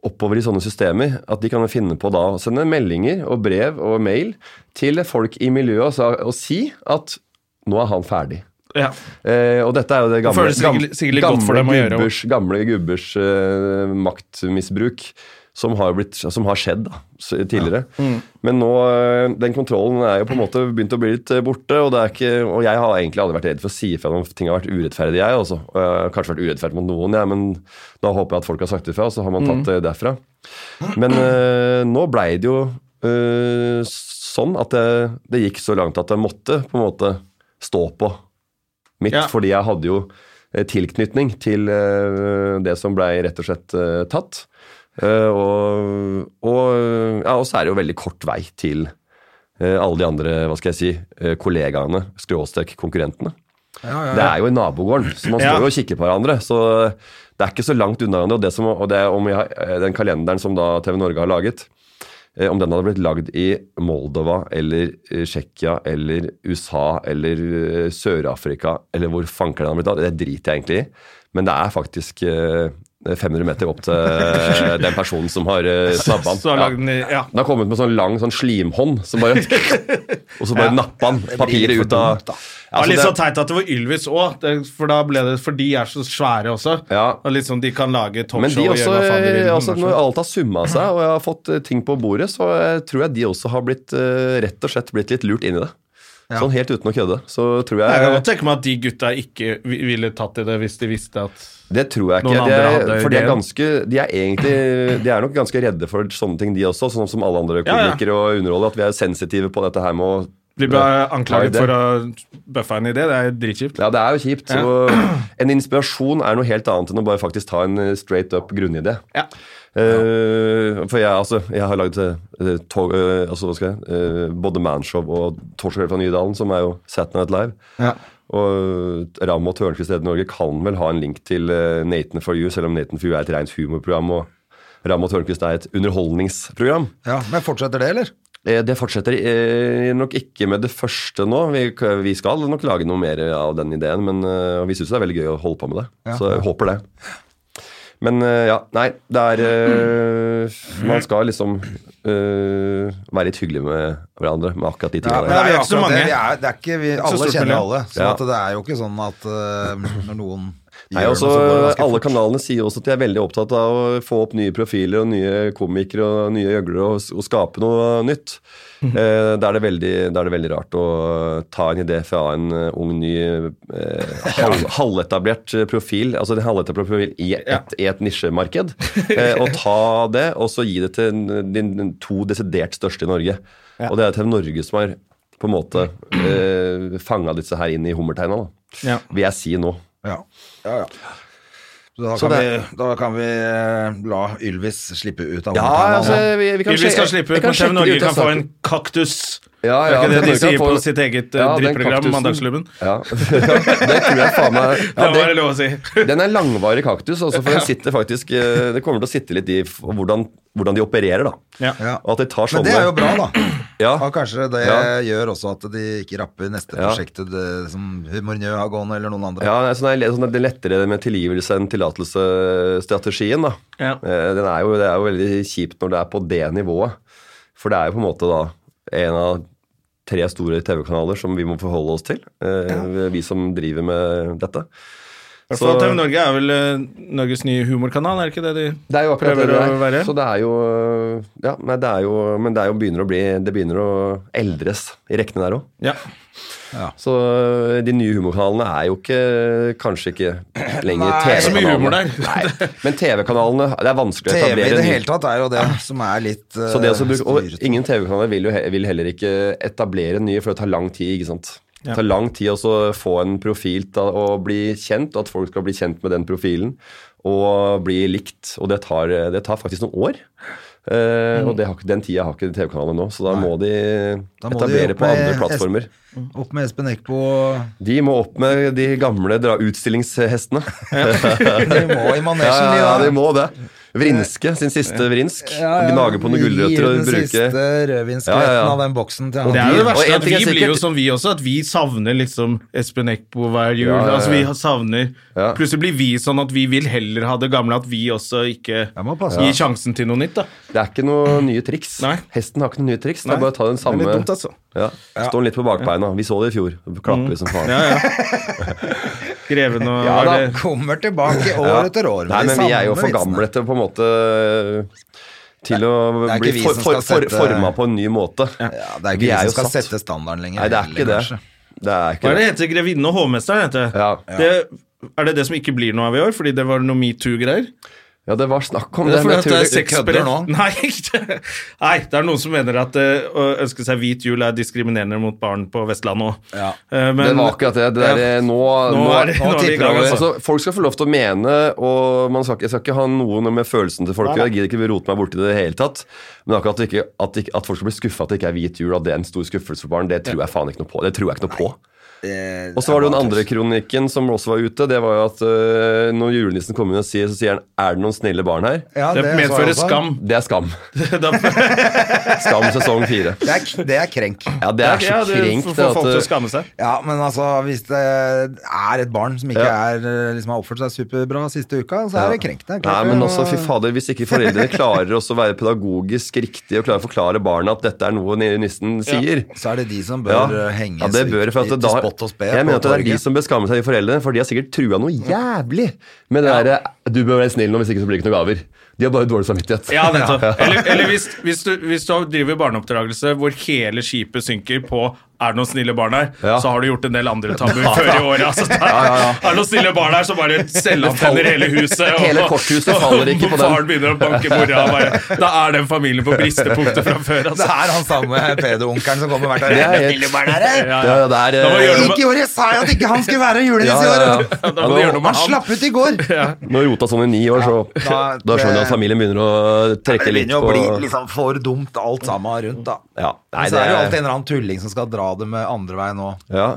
S3: oppover i sånne systemer at de kan jo finne på da å sende meldinger og brev og mail til folk i miljøet og, sa- og si at nå er han ferdig.
S2: Ja.
S3: Eh, og dette er jo det gamle,
S2: føles sikkert- sikkert litt godt for
S3: gamle
S2: dem å gjøre, og-
S3: gubbers, gamle gubbers eh, maktmisbruk som har, blitt, som har skjedd da, s- tidligere.
S2: Mm.
S3: Men nå, eh, den kontrollen er jo på en måte begynt å bli litt eh, borte, og, det er ikke, og jeg har egentlig aldri vært redd for å si ifra om ting har vært urettferdig, jeg også. Og jeg har kanskje vært urettferdig mot noen, jeg, men da håper jeg at folk har sagt ifra, og så har
S2: Mm.
S3: man tatt det derfra. Men eh, nå blei det jo eh, sånn at det, det gikk så langt at jeg måtte på en måte stå på mitt,
S2: Ja.
S3: fordi jeg hadde jo eh, tilknytning til eh, det som blei rett og slett eh, tatt. Eh, og, og, ja, og så er det jo veldig kort vei til eh, alle de andre hva skal jeg si, eh, kollegaene, skråstrek konkurrentene. Det er jo i nabogården, så man
S2: Ja.
S3: står jo og kikker på hverandre. Så det er ikke så langt unna hverandre. Og, det som, og det, om jeg, har- den kalenderen som da TV Norge har laget, eh, om den hadde blitt lagd i Moldova eller eh, Tsjekkia eller USA eller eh, Sør-Afrika, eller hvor fanker den hadde blitt lagd, det driter jeg egentlig i. Men det er faktisk eh, eh, 500 meter opp til eh, den personen som har eh, snabba
S2: [LAUGHS] Så har lagd
S3: han.
S2: den i Ja.
S3: Den har kommet med sånn lang sånn slimhånd som
S2: [LAUGHS]
S3: bare Og så bare nappa han
S1: litt
S3: papiret
S1: for
S3: ut av
S1: dumt, da.
S2: Det var litt
S3: Altså,
S2: sånn så teit at det var Ylvis òg, for da ble det, for de er så svære også.
S3: Ja.
S2: Og liksom De kan lage
S3: Men
S2: talkshow
S3: de
S2: og
S3: også,
S2: gjøre hva faen de vil.
S3: altså,
S2: men sånn.
S3: når
S2: derfor-
S3: alt har summa seg, og jeg har fått eh, ting på bordet, så eh, tror jeg de også har blitt eh, rett og slett blitt litt lurt inn i det. Sånn helt uten å kødde. Så tror
S2: Jeg kan
S3: jeg
S2: godt tenke meg at de gutta ikke vi- ville tatt i det hvis de visste at
S3: Det tror jeg ikke.
S2: Noen
S3: De
S2: andre
S3: er, for de
S2: hadde
S3: er,
S2: ideen.
S3: ganske, de, er egentlig, de er nok ganske redde for sånne ting, de også, sånn som alle andre
S2: Ja, ja.
S3: komikere og underholdere. At vi er sensitive på dette her med å
S2: De ble anklaget
S3: Ja,
S2: for
S3: det-
S2: å bøffe en idé. Det er dritkjipt.
S3: Ja, det er jo kjipt. Så en inspirasjon er noe helt annet enn å bare faktisk ta en eh, straight up grunnidé.
S2: Ja.
S3: Eh, for jeg, altså, jeg har lagd eh, tog, eh, altså, hva skal jeg, eh, både Manshow og Torsdag fra Nydalen, som er jo Saturday Night Live.
S1: Ja.
S3: Og Ram og Tørnquist Redd Norge kan vel ha en link til eh, Nathan for you, selv om Nathan for you er et rent humorprogram, og Ram og Tørnquist er et underholdningsprogram.
S1: Ja, men fortsetter det, eller?
S3: Eh, Det fortsetter eh, nok ikke med det første nå. Vi, k- vi skal nok lage noe mer av den ideen, men eh, og vi syns det er veldig gøy å holde på med det. Så jeg håper det. Men eh, ja, nei, det er eh, Man skal liksom eh, være litt hyggelig med hverandre med akkurat de
S1: Ja,
S3: tingene
S1: men
S3: der.
S2: vi er
S1: jo
S2: ikke så
S1: akkurat
S2: mange.
S1: Det, vi er, det er ikke, vi,
S2: så
S1: alle
S2: stort
S1: kjenner
S2: miljø.
S1: alle, så
S3: Ja.
S1: at det er jo ikke sånn at eh, når noen
S3: Nei,
S1: gjør
S3: også,
S1: noe, så går det ganske
S3: alle
S1: fort.
S3: kanalene sier også at de er veldig opptatt av å få opp nye profiler og nye komikere og nye gjøglere og, og skape noe nytt.
S1: Mhm.
S3: Eh, da, er det veldig, da er det veldig rart å ta en idé fra en eh, ung, ny, eh, halv, halvetablert profil, altså en halvetablert profil i et, i et
S1: [LAUGHS]
S3: nisjemarked, eh, og ta det og så gi det til den- din to desidert største i Norge. Og det er TV Norge som har på en måte eh, fanga disse her inn i hummerteina, da.
S2: Ja.
S3: vil jeg si nå.
S1: Ja, ja, ja. Så da,
S3: Så
S1: kan
S3: det-
S1: vi, da kan vi eh, la Ylvis slippe ut av
S3: Ja,
S1: håndtegnet
S3: altså,
S1: nå.
S3: vi, vi kan
S2: Ylvis
S3: sjekke-
S2: kan slippe
S3: jeg
S2: ut, men TV
S3: sjekke ut,
S2: Norge
S3: jeg
S2: kan få
S3: snakker-
S2: en kaktus.
S3: ja,
S2: Det er
S3: ja,
S2: ikke
S3: TV
S2: det de
S3: Norge kan
S2: sier
S3: få-
S2: på sitt eget, eh,
S3: den
S2: drittprogram,
S3: kaktusen.
S2: Mandagsklubben?
S3: Ja, [LAUGHS] det tror jeg faen meg ja,
S2: [LAUGHS] det må være
S3: det,
S2: lov å si.
S3: Den er langvarig kaktus, altså, for den sitter faktisk eh, Det kommer til å sitte litt i f- hvordan, hvordan de opererer, da.
S2: Ja.
S1: Ja.
S3: Og at de tar sånne
S1: Men det er jo bra, da.
S3: Ja,
S1: Og kanskje det
S3: Ja.
S1: gjør også at de ikke rapper neste
S3: Ja.
S1: prosjektet det, som Humornø har gående, eller noen andre.
S3: ja sånn er, sånn er det lettere med tilgivelse enn tillatelsesstrategien, da.
S2: Ja.
S3: Eh, Den er jo, det er jo veldig kjipt når det er på det nivået. For det er jo på en måte da en av tre store TV-kanaler som vi må forholde oss til, eh, vi som driver med dette.
S2: Så, TV Norge er vel eh, Norges nye humorkanal, er det ikke det de
S3: Det er jo akkurat det
S2: prøver
S3: det
S2: å være?
S3: er. Så det er jo Ja, nei, det er jo Men det er jo begynner å bli Det begynner å eldres i rekkene der òg.
S2: Ja.
S3: Så eh, de nye humorkanalene er jo ikke Kanskje ikke lenger
S1: Nei,
S2: så mye humor der.
S3: TV-kanalene. Nei, Men TV-kanalene Det er vanskelig å
S1: TV i
S3: etablere
S1: det
S3: ny-
S1: hele tatt er jo det som er litt eh,
S3: Så det å bruke,
S1: styret.
S3: og ingen TV-kanaler vil jo he, vil heller ikke etablere nye, for det tar lang tid. ikke sant? Det tar lang tid også å få en profil til å bli kjent, og at folk skal bli kjent med den profilen. Og bli likt. Og det tar, det tar faktisk noen år. Eh, Og det har, ikke- den tida har ikke TV-kanalene nå, så da må de
S1: Mm. Da må de
S3: etablere
S1: opp
S3: på andre
S1: med S-
S3: plattformer.
S1: Opp med Espen Eckbo og
S3: De må opp med de gamle dra utstillingshestene.
S1: De må i manesjen,
S3: Ja,
S1: de, da.
S3: ja, ja, de må det. Vrinske sin siste vrinsk. Gnage på noen gulrøtter og
S1: Gir den
S3: bruke
S1: siste rødvinskvetten
S3: Ja, ja, ja.
S1: av den boksen til han.
S3: Og
S2: Det er jo det
S3: de- og
S2: verste
S3: en
S2: at
S3: ting
S2: vi
S3: er sikkert-
S2: blir jo som vi også, at vi savner liksom Espen Eckbo hver jul.
S3: Ja, ja, ja.
S2: Altså vi savner
S3: Ja.
S2: Plutselig blir vi sånn at vi vil heller ha det gamle, at vi også ikke
S1: Jeg må passe.
S2: gir sjansen til noe nytt, da.
S3: Det er ikke
S2: [CLEARS THROAT]
S3: noe nye triks.
S2: Nei.
S3: Hesten har ikke noen nye triks. Det
S2: Nei.
S3: er bare å ta den samme
S2: Det er litt dumt, altså. Mm.
S3: ja. Stå den litt på bakbeina. Vi så det i fjor. Klapper vi som faen.
S2: [LAUGHS] Ja, ja. Greven og
S3: Ja, da.
S2: er det-
S1: [LAUGHS] Kommer tilbake år
S3: Ja.
S1: etter år. med
S3: Nei,
S1: de
S3: men vi er jo
S1: samme
S3: for
S1: vitsene.
S3: gamle til på en måte eh, til å
S1: det er
S3: bli
S1: ikke vi
S3: for,
S1: som
S3: for,
S1: skal
S3: for,
S1: sette-
S3: forma på en ny måte.
S1: Ja, det er
S3: Vi
S1: ikke
S3: er
S1: vi
S3: jo
S1: som skal
S3: satt.
S1: sette standarden lenger.
S3: Nei, det er ikke det.
S1: kanskje.
S3: Det er
S2: Hva
S3: ikke
S2: er det
S3: det.
S2: heter Grevinne og hovmester? Heter det.
S3: Ja.
S2: Det, er det det som ikke blir noe av i år, fordi det var noe metoo-greier?
S3: ja, det var snakk om
S2: Det
S3: det.
S2: er
S3: men jeg tror
S2: fordi at det er
S3: det-
S2: sexpress.
S1: kødder nå.
S2: [LAUGHS] Nei, ikke det. Nei, det er noen som mener at eh, å ønske seg hvit jul er diskriminerende mot barn på Vestlandet òg.
S1: Ja.
S3: det var akkurat det. det der,
S2: Ja.
S3: nå,
S2: Nå er det- nå er vi i gang, altså.
S3: altså, Folk skal få lov til å mene, og man skal ikke, jeg skal ikke ha noe med følelsen til folk. å gjøre. Jeg gidder ikke rote meg borti det i det hele tatt. Men akkurat at, ikke, at, ikke, at folk skal bli skuffa at det ikke er hvit jul, at det er en stor skuffelse for barn, det tror jeg faen ikke noe på. Det tror jeg ikke noe på.
S1: eh,
S3: Og så var det jo den andre kronikken som også var ute. Det var jo at øh, når julenissen kommer inn og sier, så sier han 'Er det noen snille barn her?'
S1: Ja,
S2: Det
S1: så jeg
S2: medfører
S1: også.
S2: skam. [LAUGHS]
S3: Det er skam.
S2: Da-
S3: Skam sesong fire.
S1: Det er, det er krenk.
S3: Ja, det er så
S2: Ja, det
S3: krenkt.
S2: får folk til å
S3: at, øh,
S2: skamme seg.
S1: Ja, men altså, hvis det er et barn som ikke
S3: Ja.
S1: er, eh, liksom, har oppført seg superbra siste uka, så er det krenk.
S3: Nei,
S1: Det er klart
S3: men
S1: det,
S3: også,
S1: og-
S3: fy fader, Hvis ikke foreldrene klarer også å være pedagogisk riktig og klarer å forklare barna at dette er noe nissen sier
S1: Så er det de som bør
S3: Ja,
S1: eh, henges
S3: ja det bør, for at
S1: ut i-
S3: da,
S1: til spott og spe.
S3: Jeg
S1: på
S3: mener at det er de
S1: torget.
S3: som bør skamme seg, de foreldrene, for de har sikkert trua noe jævlig med det derre 'du bør være snill nå, hvis ikke så blir det ikke noen gaver'. De har bare dårlig samvittighet.
S2: Ja, nettopp. Eller, eller hvis, hvis, du, hvis du driver barneoppdragelse hvor hele skipet synker på er det noen snille barn her,
S3: Ja.
S2: så har du gjort en del
S3: [LAUGHS]
S2: andre tabuer før i året. Altså, det er, [LAUGHS] er det noen snille barn her, så
S3: [LAUGHS]
S2: bare selvantenner hele huset. og-
S3: Hele korthuset faller ikke på den.
S2: [LAUGHS] Faren begynner å banke mora. og bare, Da er den familien
S3: [LAUGHS]
S2: på bristepunktet fra
S1: [LAUGHS]
S2: før.
S1: Det
S2: Altså.
S1: er han samme pedo-onkelen som kommer hvert år.
S3: Det er
S1: «Er det
S3: helt-
S1: snille barn her, eh?»
S2: Ja,
S3: Ja, ja, det er,
S2: Da må vi gjøre noe
S3: eh,
S2: med-
S1: [LAUGHS] Ikke i år, jeg sa jo at ikke han skulle være julenisse
S3: Ja, ja, ja.
S1: i år!
S2: Ja, [LAUGHS] da må du gjøre noe med
S1: Han
S2: han.
S1: slapp ut i går!
S3: Nå rota sånn i ni år, så
S1: Ja, da-
S3: da skjønner jeg at familien begynner å trekke
S1: Det
S3: litt
S1: begynner jo å
S3: på
S1: bli liksom for dumt alt sammen rundt, da.
S3: Ja, nei,
S1: Men så er det jo alltid
S3: det
S1: en eller annen tulling som skal dra det med andre veien òg.
S3: er ja.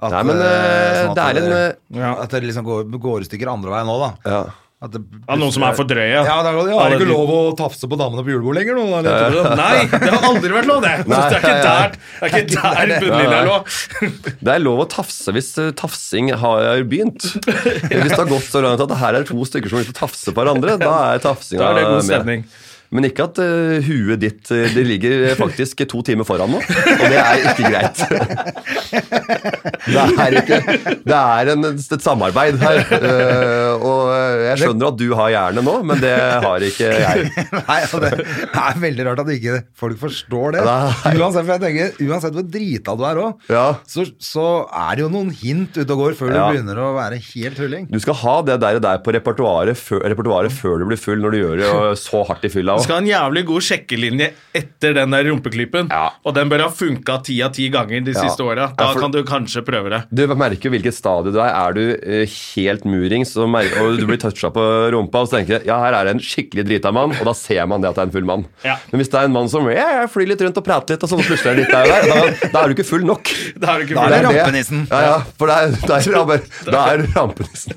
S3: Nei, men, eh, det er en,
S1: At det liksom går, går i stykker andre veien òg, da.
S3: Ja.
S1: At det,
S2: Ja, noen som er for drøye.
S1: ja, det er, ja, er det ikke lov å tafse på damene på julebordet lenger nå? Eller?
S2: [LAUGHS] Nei, det har aldri vært lov, det! Det
S3: Nei.
S2: er ikke der, det er ikke der bunnlinja [LAUGHS] lå.
S3: Det er lov å tafse hvis eh, tafsing har begynt. Hvis det har gått så langt at det her er to stykker som har lyst til å tafse på hverandre, da er tafsinga
S2: Da er det god
S3: med.
S2: stemning.
S3: Men ikke at eh, huet ditt eh, Det ligger faktisk to timer foran nå, og det er ikke greit. Det er, ikke, det er en, et samarbeid her. eh, og eh, jeg skjønner at du har hjerne nå, men det har ikke jeg.
S1: [LAUGHS] Nei, altså, det er veldig rart at ikke folk forstår det.
S3: Nei.
S1: Uansett, for jeg tenker, uansett hvor drita du er òg,
S3: Ja.
S1: så, så er det jo noen hint ute og går
S3: Ja.
S1: før du begynner å være helt tulling.
S3: Du skal ha det der, og der på repertoaret før, repertoaret før du blir full, når du gjør det eh, så hardt i fylla.
S2: Du
S3: også.
S2: skal ha en jævlig god sjekkelinje etter den der rumpeklypen.
S3: Ja.
S2: Og den bør ha funka ti av ti ganger de
S3: Ja.
S2: siste åra. Da
S3: Ja, for-
S2: kan du kanskje prøve det.
S3: Du merker jo hvilket stadie du er. Er du eh, helt murings og, mer- og du blir toucha på rumpa, og så tenker du ja, her er det en skikkelig drita mann, og da ser man det at det er en full mann.
S2: Ja.
S3: Men hvis det er en mann som ja, jeg flyr litt rundt og prater litt, og så plutselig er det litt der, og der da, da er du ikke full nok.
S2: Da er det ikke
S1: Da er
S2: for-
S1: det rampenissen.
S3: Ja, ja, for da er, da er, det rampe- da er det rampenissen.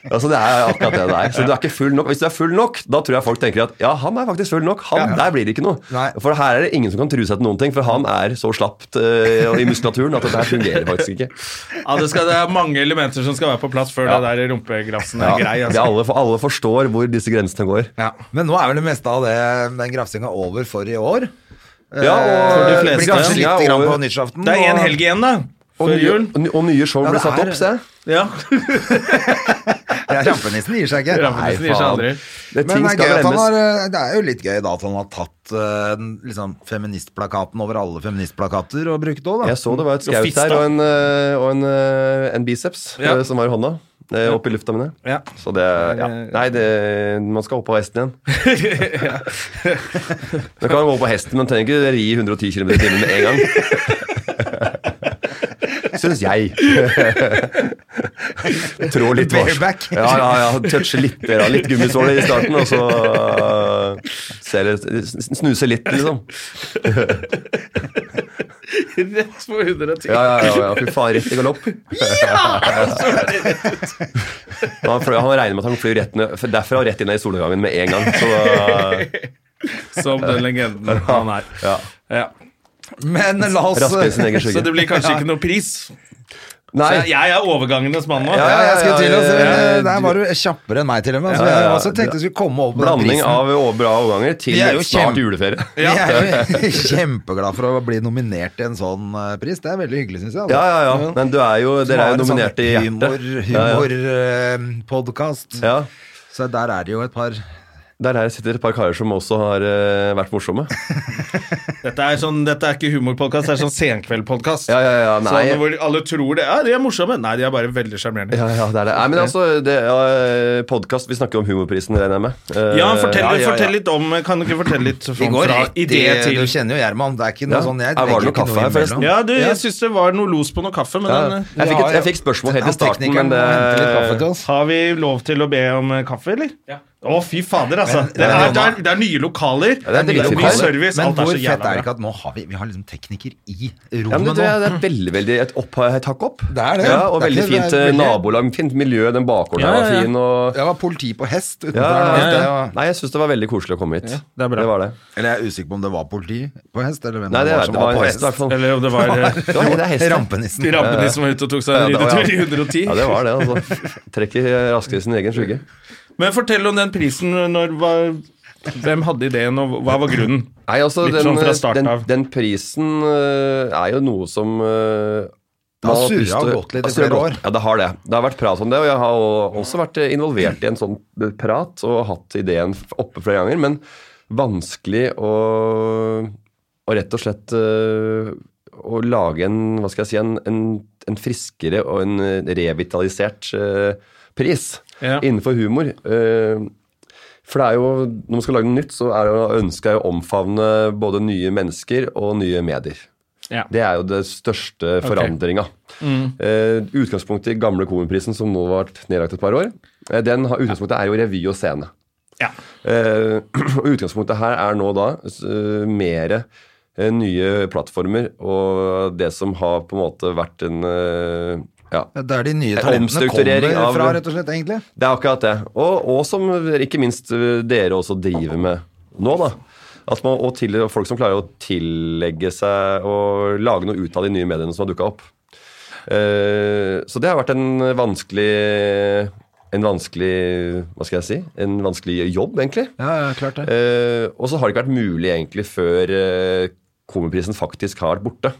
S3: Altså, det er akkurat det det er. Så du er ikke full nok. Hvis du er full nok, da tror jeg folk tenker at ja, han er faktisk full nok. Han, Der blir det ikke noe.
S1: Nei.
S3: For her er det ingen som kan true seg til noen ting, for han er så slapt eh, i muskulaturen at dette her fungerer faktisk ikke.
S2: Ja, det, skal, det er mange elementer som skal være på plass før det der rumpeglassen er grei.
S3: vi
S2: Altså.
S3: alle, for alle forstår hvor disse grensene går.
S1: Ja. Men nå er vel det meste av det, den grafsinga over for i år.
S3: Ja, og
S2: de
S1: Eh,
S2: fleste.
S1: Blir kanskje
S3: Ja,
S1: litt grann
S3: over.
S1: på nyttårsaften.
S2: Det er
S1: og-
S2: én helg igjen, da.
S3: Og
S2: Før
S3: nye,
S2: jul.
S3: og nye show
S1: Ja,
S3: blir
S1: det
S3: satt
S1: er-
S3: opp, se.
S2: [LAUGHS] Ja.
S1: Ja, rampenissen gir seg ikke.
S2: Rampenissen gir seg aldri.
S3: Det,
S1: Men
S3: ting
S1: det er,
S3: skal
S1: gøy at han
S3: glemmes.
S1: har, eh, det er jo litt gøy da at han har tatt eh, den, liksom, feministplakaten over alle feministplakater og brukt òg, da.
S3: Jeg så det var et
S2: Og
S3: skaut
S2: fist,
S3: der,
S2: da.
S3: og en, øh, og en, øh, en biceps
S2: Ja.
S3: øh, som var i hånda. øh, Opp i lufta mine.
S2: Ja.
S3: Så det ja. Nei, det, man skal opp på hesten igjen. Man kan gå opp på hesten, men trenger ikke ri 110 km i timen med en gang. Syns jeg. Trå litt vars.
S1: Bareback.
S3: Ja, ja, ja. Touche litt, ja. litt gummisåle i starten, og så øh, ser det- snuse litt, liksom.
S2: [LAUGHS] Rett på 110.
S3: Ja, ja, ja, ja. fy faen, rett i galopp. han, fløy, han regner med at han flyr rett ned, for derfra og rett inn i solnedgangen med en gang. Så, uh,
S2: Som den legenden han er.
S3: ja.
S2: Ja.
S1: Men la oss
S3: Rasker i sin egen
S2: Så det
S3: skygge.
S2: blir kanskje ikke noe pris.
S3: Nei,
S2: Så jeg er overgangenes mann nå.
S3: Ja,
S1: ja, jeg skulle til å si,
S3: Ja, ja, ja, ja.
S1: Der var du kjappere enn meg, til og med. Så
S3: Ja, ja,
S1: jeg
S3: ja.
S1: også tenkte jeg skulle komme over på den
S3: blanding
S1: prisen. [LAUGHS]
S3: av over- bra overganger til
S1: Vi er jo
S3: snart
S1: kjem-
S3: juleferie.
S1: Vi er jo kjempeglad for å bli nominert til en sånn eh, pris. Det er veldig hyggelig, syns jeg. altså.
S3: Ja, ja, ja. Men du er jo, dere er
S1: Som
S3: jo
S1: har en
S3: nominert i
S1: sånn
S3: hjertet.
S1: Humor, humorpodkast.
S3: Ja, ja.
S1: Så der er det jo et par
S3: Der her sitter et par karer som også har øh, vært morsomme.
S2: Dette er, sånn, dette er ikke humorpodkast, det er
S3: [LAUGHS]
S2: sånn senkveldpodkast.
S3: Ja, ja, ja, nei.
S2: Sånn hvor alle tror det. Ja, de er morsomme. Nei, de er bare veldig sjarmerende.
S3: Ja, ja, det er det. Nei, men altså, det er podkast Vi snakker om humorprisen, regner jeg med. Eh,
S2: Ja, fortell,
S3: ja, ja, ja.
S2: Fortell litt om Kan du ikke fortelle litt sånn fra idé
S1: Du
S2: til
S1: kjenner jo Gjerman. Det er ikke noe
S3: Ja.
S1: sånn jeg
S3: Ja, var det
S1: legger
S3: noe
S1: ikke
S3: kaffe her,
S1: imellom.
S3: forresten?
S2: Ja, du, jeg syns det var noe los på noe kaffe, men
S3: Ja,
S2: den, eh,
S3: jeg, fikk et,
S1: Ja,
S3: jeg fikk spørsmål helt i
S1: Han
S3: starten,
S1: teknikeren
S3: men eh, det
S1: må hente litt kaffe til oss.
S2: har vi lov til å be om eh, kaffe, eller? Ja. Å, fy fader, altså.
S1: Men-
S2: det,
S1: men-
S2: er, det, er, det er nye lokaler,
S3: Ja, det er
S2: nye
S3: dritfint.
S2: ny service,
S1: Men
S2: alt
S1: hvor
S2: er så
S1: fett
S2: jævla
S1: er det
S2: bra.
S1: ikke at nå har vi, vi har liksom tekniker i
S3: Ja, men det, det, er,
S1: rommet nå?
S3: det er veldig, veldig et opphatt hakk opp.
S1: Det er det.
S3: Ja, og
S1: Det er
S3: veldig
S1: ikke- det er
S3: fint eh,
S1: veldig-
S3: nabolag, fint miljø, den bakgården
S4: Ja,
S3: her
S4: ja, ja.
S3: var fin. og...
S1: Det var politi på hest utenfor
S3: Ja,
S1: her nå,
S3: ja,
S1: det
S3: ja.
S1: var-
S3: Nei, jeg syns det var veldig koselig å komme hit.
S4: det er bra.
S3: var det.
S1: Eller jeg er usikker på om det var politi på hest, eller hvem
S3: Nei, det,
S1: det var
S3: er,
S1: som
S3: det var en
S1: var på
S3: hest, i hvert
S1: hest.
S3: fall.
S2: Eller om det var eh,
S3: Det var- det er hest, altså? [LAUGHS] ja.
S1: Rampenissen.
S2: de rampene som var ute og tok seg
S3: Ja,
S2: en
S3: det var-
S2: ridetur i
S3: Ja,
S2: 110.
S3: det var det. altså. Trekker raskere sin egen skygge.
S2: Men fortell om den prisen. Når, hva, hvem hadde ideen, og hva var grunnen?
S3: Nei, altså,
S2: Litt
S3: den,
S2: sånn fra starten
S3: den,
S2: av.
S3: den prisen øh, er jo noe som øh,
S1: har
S3: man hatt
S1: surret
S3: lyst til-
S1: og gått litt i
S3: har surret og
S1: flere
S3: gått.
S1: år.
S3: Ja, det har det. Det har vært prat om det, og jeg har o- også vært eh, involvert i en sånn prat og hatt ideen f- oppe flere ganger, men vanskelig å, å rett og slett øh, å lage en, hva skal jeg si, en, en, en friskere og en eh, revitalisert eh, pris
S2: Ja.
S3: innenfor humor. Eh, for det er jo, når man skal lage noe nytt, så er det, ønsket er jo å omfavne både nye mennesker og nye medier.
S2: Ja.
S3: Det er jo det største forandringa. Eh, utgangspunktet i gamle Komiprisen, som nå har vært nedlagt et par år, eh, den har, utgangspunktet er jo revy og scene.
S2: Ja.
S3: Eh, [CLEARS THROAT] og utgangspunktet her er nå da eh, mer eh, nye plattformer og det som har på en måte vært en eh, ja,
S1: Ja, Det er de nye
S3: En
S1: talentene
S3: omstrukturering
S1: kommer
S3: av-
S1: fra, rett og slett, egentlig.
S3: Det er akkurat det. Og, og som ikke minst øh, dere også driver med nå, da. At man, og til, folk som klarer å tillegge seg og lage noe ut av de nye mediene som har dukka opp. Eh, så det har vært en vanskelig En vanskelig Hva skal jeg si? En vanskelig jobb, egentlig.
S1: Ja, ja, klart det.
S3: Eh, og så har det ikke vært mulig egentlig før eh, Komiprisen faktisk har vært borte.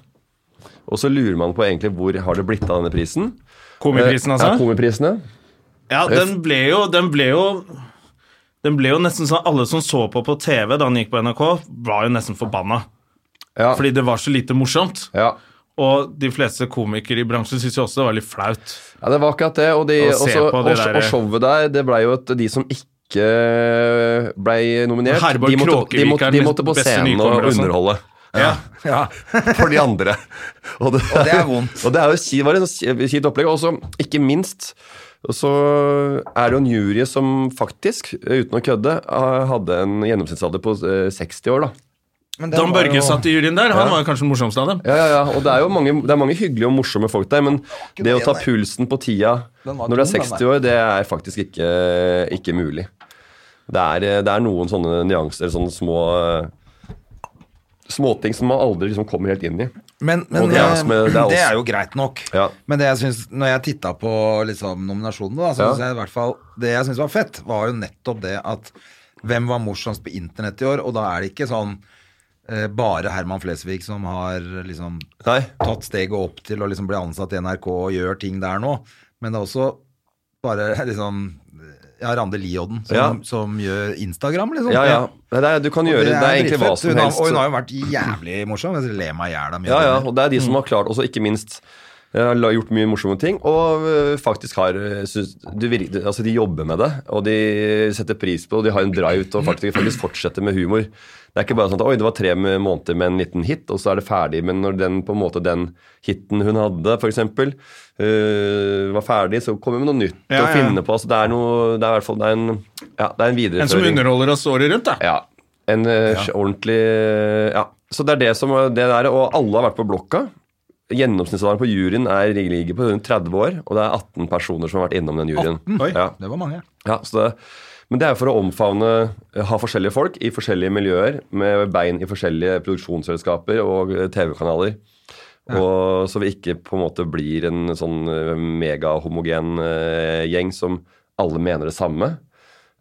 S3: Og så lurer man på egentlig hvor har det blitt av denne prisen.
S2: Komiprisen,
S3: Eh, Ja,
S2: altså?
S3: komiprisene.
S2: Ja, den ble jo Den ble jo den ble jo nesten sånn, Alle som så på på TV da han gikk på NRK, var jo nesten forbanna.
S3: Ja,
S2: Fordi det var så lite morsomt.
S3: ja.
S2: Og de fleste komikere i bransjen syntes jo også det var litt flaut.
S3: Ja, det var akkurat det. Og, de,
S2: Å se
S3: også,
S2: på
S3: og,
S2: det der- eh.
S3: og showet der, det blei jo at de som ikke blei nominert,
S2: Herborg
S3: de måtte, de,
S2: Kråkevik
S3: måtte,
S2: er
S3: de
S2: den
S3: måtte på
S2: beste
S3: scenen
S2: nykommer
S3: og
S2: og sånn.
S3: underholde.
S2: Ja.
S1: Ja.
S3: For de andre. [LAUGHS] Og det,
S1: det er vondt.
S3: Og det er jo kjipt, var et kjipt opplegg. Og så, ikke minst, så er det jo en jury som faktisk, uten å kødde, eh, hadde en gjennomsnittsalder på eh, 60 år, da.
S1: Men det
S2: Dan
S1: var jo-
S2: Børge satt i juryen der. Han var jo kanskje den morsomste av dem.
S3: Ja, ja, ja. Og det er jo mange, det er mange hyggelige og morsomme folk der, men det å ta pulsen på tida
S1: Den var
S3: når du er
S1: tung, den
S3: 60 år, det er faktisk ikke, ikke mulig. Det er, eh, det er noen sånne nyanser, eller sånne små eh, småting som man aldri liksom kommer helt inn i.
S1: Men, men eh,
S3: Og det
S1: det,
S3: er
S1: er
S3: også med- det er også-
S1: jo greit nok.
S3: Ja.
S1: Men det jeg synes, når jeg titta på liksom, nominasjonene, da, så
S3: Ja.
S1: synes jeg i hvert fall Det jeg syns var fett, var jo nettopp det at hvem var morsomst på internett i år? Og da er det ikke sånn eh, bare Herman Flesvig som har liksom
S3: Nei.
S1: tatt steget opp til å liksom bli ansatt i NRK og gjør ting der nå. Men det er også bare [LAUGHS] liksom Ja, Rande Liodden som,
S3: Ja.
S1: som gjør Instagram, liksom.
S3: Ja, ja. Nei, det er, du kan
S1: Og
S3: gjøre det, er egentlig hva
S1: dritfett.
S3: som
S1: Hun har-
S3: helst.
S1: Og hun har jo vært jævlig morsom. Jeg ler meg i hjel av mye.
S3: Ja,
S1: av
S3: ja,
S1: det.
S3: og det er
S2: Mm.
S3: de som har klart også, ikke minst eh, la- gjort mye morsomme ting, og eh, faktisk har eh, syns- du virker, altså De jobber med det, og de setter pris på det, og de har en drive til å faktisk, faktisk fortsette med humor. Det er ikke bare sånn at oi, det var tre måneder med en liten hit, og så er det ferdig. Men når den på en måte den hiten hun hadde, f.eks., uh, var ferdig, så kommer hun med noe nytt å
S2: Ja, ja.
S3: finne på. Altså, det er noe, det er i hvert fall det er en, ja, det er en
S2: En som
S3: videreføring.
S2: underholder oss året rundt, da.
S3: Ja. En eh, sj- ordentlig eh, Ja. Så det er det som det der, og alle har vært på blokka. Gjennomsnittsalderen på juryen er ligger på rundt 30 år, og det er 18 personer som har vært innom den juryen.
S1: Oi,
S3: Ja.
S1: det var mange.
S3: Ja, så det, men det er jo for å omfavne eh, ha forskjellige folk i forskjellige miljøer, med bein i forskjellige produksjonsselskaper og eh, TV-kanaler. Og Så vi ikke på en måte blir en sånn eh, megahomogen eh, gjeng som alle mener det samme.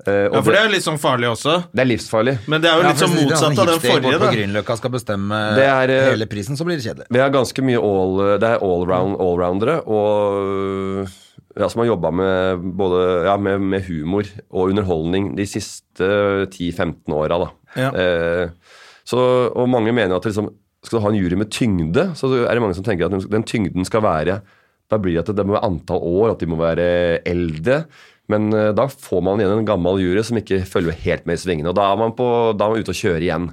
S3: Eh, og
S2: Ja, For det er jo litt sånn farlig også.
S3: det er livsfarlig.
S2: Men det er jo litt sånn
S1: altså,
S2: motsatt av den forrige, da.
S1: På Grünerløkka skal bestemme
S3: Det er, eh,
S1: hele prisen, så blir det kjedelig.
S3: Vi har ganske mye all, det er allround, allroundere og ja, som har jobba med både ja, med, med humor og underholdning de siste 10-15 åra. da.
S2: Ja.
S3: Eh, så, og mange mener at liksom, skal du ha en jury med tyngde, så er det mange som tenker at den- den tyngden skal være Da blir det at det må være antall år, at de må være eldre. Men eh, da får man igjen en gammel jury som ikke følger helt med i svingene. Og da er man, på, da er man ute og kjører igjen.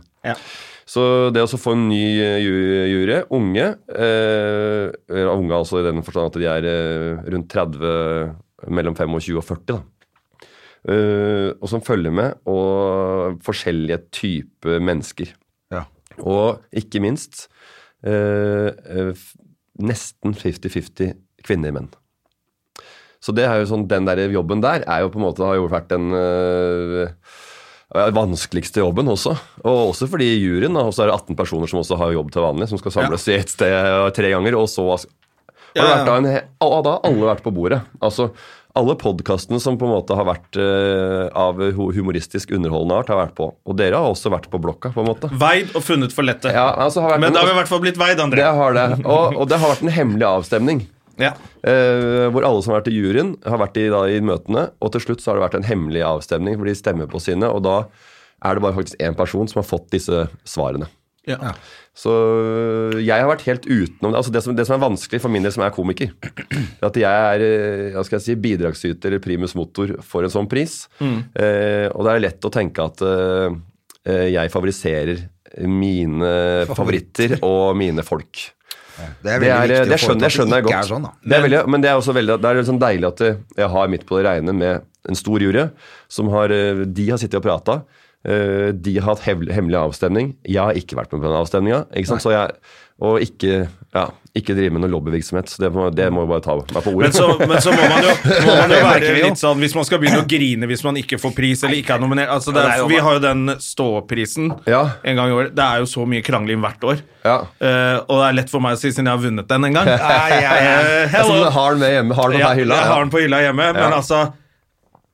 S3: Så det å så få en ny eh, ju- jury, unge eh, eller Unge altså i den forstand at de er eh, rundt 30, mellom 25 og 40, da. eh, og som følger med, og forskjellige typer mennesker.
S1: Ja.
S3: Og ikke minst eh, eh, f- nesten 50-50 kvinner-menn. Så det er jo sånn, den der jobben der er jo på en måte har jo vært den øh, øh, vanskeligste jobben også. Og også fordi i juryen da, også er det 18 personer som også har jobb til vanlig, som skal samles i ett sted øh, tre ganger. Og så has- har det
S2: Ja, ja.
S3: vært da en he og da har alle vært på bordet. Altså alle podkastene som på en måte har vært øh, av hu- humoristisk underholdende art, har vært på. Og dere har også vært på blokka, på en måte.
S2: Veid og funnet for lette.
S3: Ja, altså, har vært
S2: Men
S3: en-
S2: da har vi i hvert fall blitt veid,
S3: det
S2: André.
S3: har det. Og, og det har vært en hemmelig avstemning.
S2: Ja.
S3: Eh, hvor alle som har vært i juryen, har vært i, da, i møtene. Og til slutt så har det vært en hemmelig avstemning, hvor de stemmer på sine. Og da er det bare faktisk én person som har fått disse svarene.
S2: Ja.
S3: Så øh, jeg har vært helt utenom det. Altså det, som, det som er vanskelig for min del, som er komiker, [CLEARS THROAT] er at jeg er eh, hva skal jeg si, bidragsyter eller primus motor for en sånn pris. Eh, og det er lett å tenke at eh, eh, jeg favoriserer mine favoritter og mine folk.
S1: Det er
S3: Det,
S1: veldig
S3: er, eh,
S1: viktig å
S3: det
S1: få ut
S3: skjønner,
S1: at
S3: jeg skjønner jeg
S1: ikke
S3: godt.
S1: Er sånn, da.
S3: det er veldig, men det er også veldig, det er liksom deilig at eh, jeg har midt på det reine med en stor jury. Som har, eh, de har sittet og prata. eh, De har hatt hevl- hemmelig avstemning. Jeg har ikke vært med på den avstemninga. Ikke sant? Så jeg, og ikke, ja, ikke drive med noe lobbyvirksomhet. Så det må, det må jeg bare ta meg på ordet.
S2: Men så, men så må man jo, må man
S1: Det
S2: jo
S1: merker
S2: være
S1: vi jo.
S2: litt sånn Hvis man skal begynne å grine hvis man ikke får pris eller ikke er nominert altså det er, Vi har jo den ståprisen
S3: Ja.
S2: en gang i året. Det er jo så mye krangling hvert år.
S3: [LAUGHS] Ja.
S2: Eh, og det er lett for meg å si siden jeg har vunnet den en gang. Eh,
S3: Jeg
S2: hello.
S3: sånn, har den med hjemme, har den på
S2: Ja,
S3: deg i hylla.
S2: jeg har den på hylla hjemme, men
S3: Ja.
S2: altså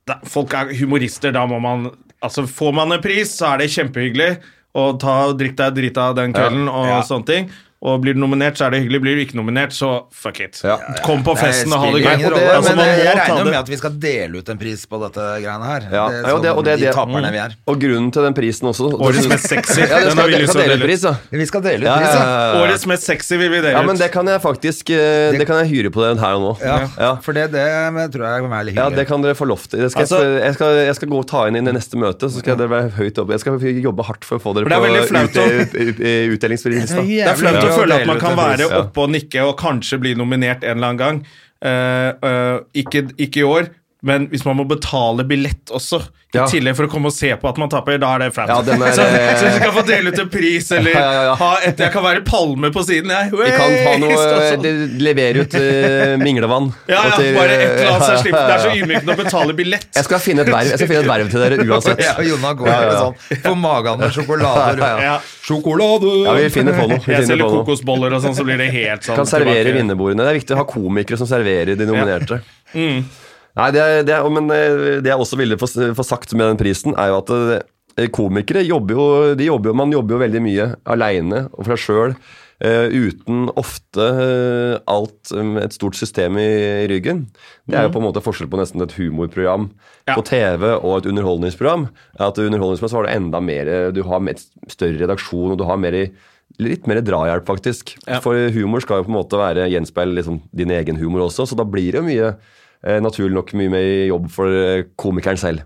S2: da, Folk er humorister, da må man Altså, får man en pris, så er det kjempehyggelig. Og ta og drikk deg drita den kvelden og sånne ting. Og blir du nominert, så er det hyggelig. Blir du ikke nominert, så fuck it.
S3: Ja.
S2: Kom på festen og ha det
S1: spiller
S2: gøy.
S1: ingen rolle,
S2: Altså,
S1: men eh,
S2: man
S1: jeg
S2: må ta
S1: regner
S2: det.
S1: med at vi skal dele ut en pris på dette greiene her.
S3: Ja.
S1: Det,
S3: Ja, og det-
S1: som
S3: og det-
S1: de
S3: det-
S1: taperne vi er.
S3: Og grunnen til den prisen også
S2: Årets mest sexy.
S3: Ja, det
S2: Den har
S3: skal,
S2: vi
S3: det Mm.
S2: lyst
S3: skal dele ut
S2: til å dele ut.
S3: pris, da.
S1: Vi skal dele ut
S3: Ja,
S1: pris,
S3: ja,
S1: ja.
S3: ja, ja.
S2: Årets mest sexy vil vi dele
S3: ja,
S2: ut.
S3: men det kan jeg faktisk eh, Det kan jeg hyre på den her og nå.
S1: Ja,
S3: Ja.
S1: For det, det tror jeg er litt
S3: Ja,
S1: hyggelig.
S3: det kan dere få lov til. Jeg skal,
S2: Altså-
S3: jeg skal, jeg skal gå og ta inn i det neste møte, så skal dere være høyt oppe. Jeg skal jobbe hardt for å få dere
S2: For det
S3: på
S2: er veldig flaut å-
S3: ut- ut- ut- utdelingsbevis.
S1: Det
S2: Det er flaut
S1: jævlig
S2: å
S1: bra
S2: føle
S1: dele
S2: at man
S1: ut
S2: kan
S1: en
S2: være
S1: pris,
S3: ja.
S2: oppe og nikke og kanskje bli nominert en eller annen gang. Eh, eh, ikke, ikke i år, men hvis man må betale billett også, i
S3: Ja.
S2: tillegg for å komme og se på at man taper, da er det flaut.
S3: Ja, den er,
S2: [LAUGHS] så,
S3: eh,
S2: så du skal få dele ut en pris, eller
S3: Ja, ja, ja.
S2: Ha et, jeg kan være palme på siden, jeg.
S3: Vi kan ta noe eh,
S2: Hey, sånn.
S3: de- Levere ut eh, minglevann.
S2: [LAUGHS] ja,
S3: og
S2: ja,
S3: til-
S2: bare et eller annet, så
S3: ja,
S2: jeg
S3: ja,
S2: slipper Det er så
S3: ja, ja.
S2: ydmykende å betale billett.
S3: [LAUGHS] Jeg skal finne et verv, jeg skal finne et verv til dere
S2: [LAUGHS]
S3: uansett.
S1: [LAUGHS] Ja, og Jonna går
S3: Ja, ja,
S1: med
S3: ja.
S1: sånn på magen med sjokolade.
S3: Ja, ja,
S2: ja.
S1: Sjokolade!
S3: Ja, vi finner på noe. Vi
S2: Jeg
S3: finner
S2: selger
S3: på noe.
S2: kokosboller og sånn, så blir det helt sånn
S3: Kan servere
S2: tilbake.
S3: vinnerbordene. Det er viktig å ha komikere som serverer de nominerte. Nei, det er, det er, men eh, det jeg også ville få, få sagt med den prisen, er jo at eh, komikere jobber jo, de jobber jo Man jobber jo veldig mye aleine og for seg sjøl. eh, uten ofte eh, alt eh, et stort system i, i ryggen. Det er jo på en måte forskjell på nesten et humorprogram
S2: Ja.
S3: på TV og et underholdningsprogram. At i underholdningsprogram så har du enda mer Du har mer, større redaksjon, og du har mer, i- litt mer drahjelp, faktisk. For humor skal jo på en måte være gjenspeile liksom, din egen humor også, så da blir det jo mye eh, naturlig nok mye mer jobb for eh, komikeren selv.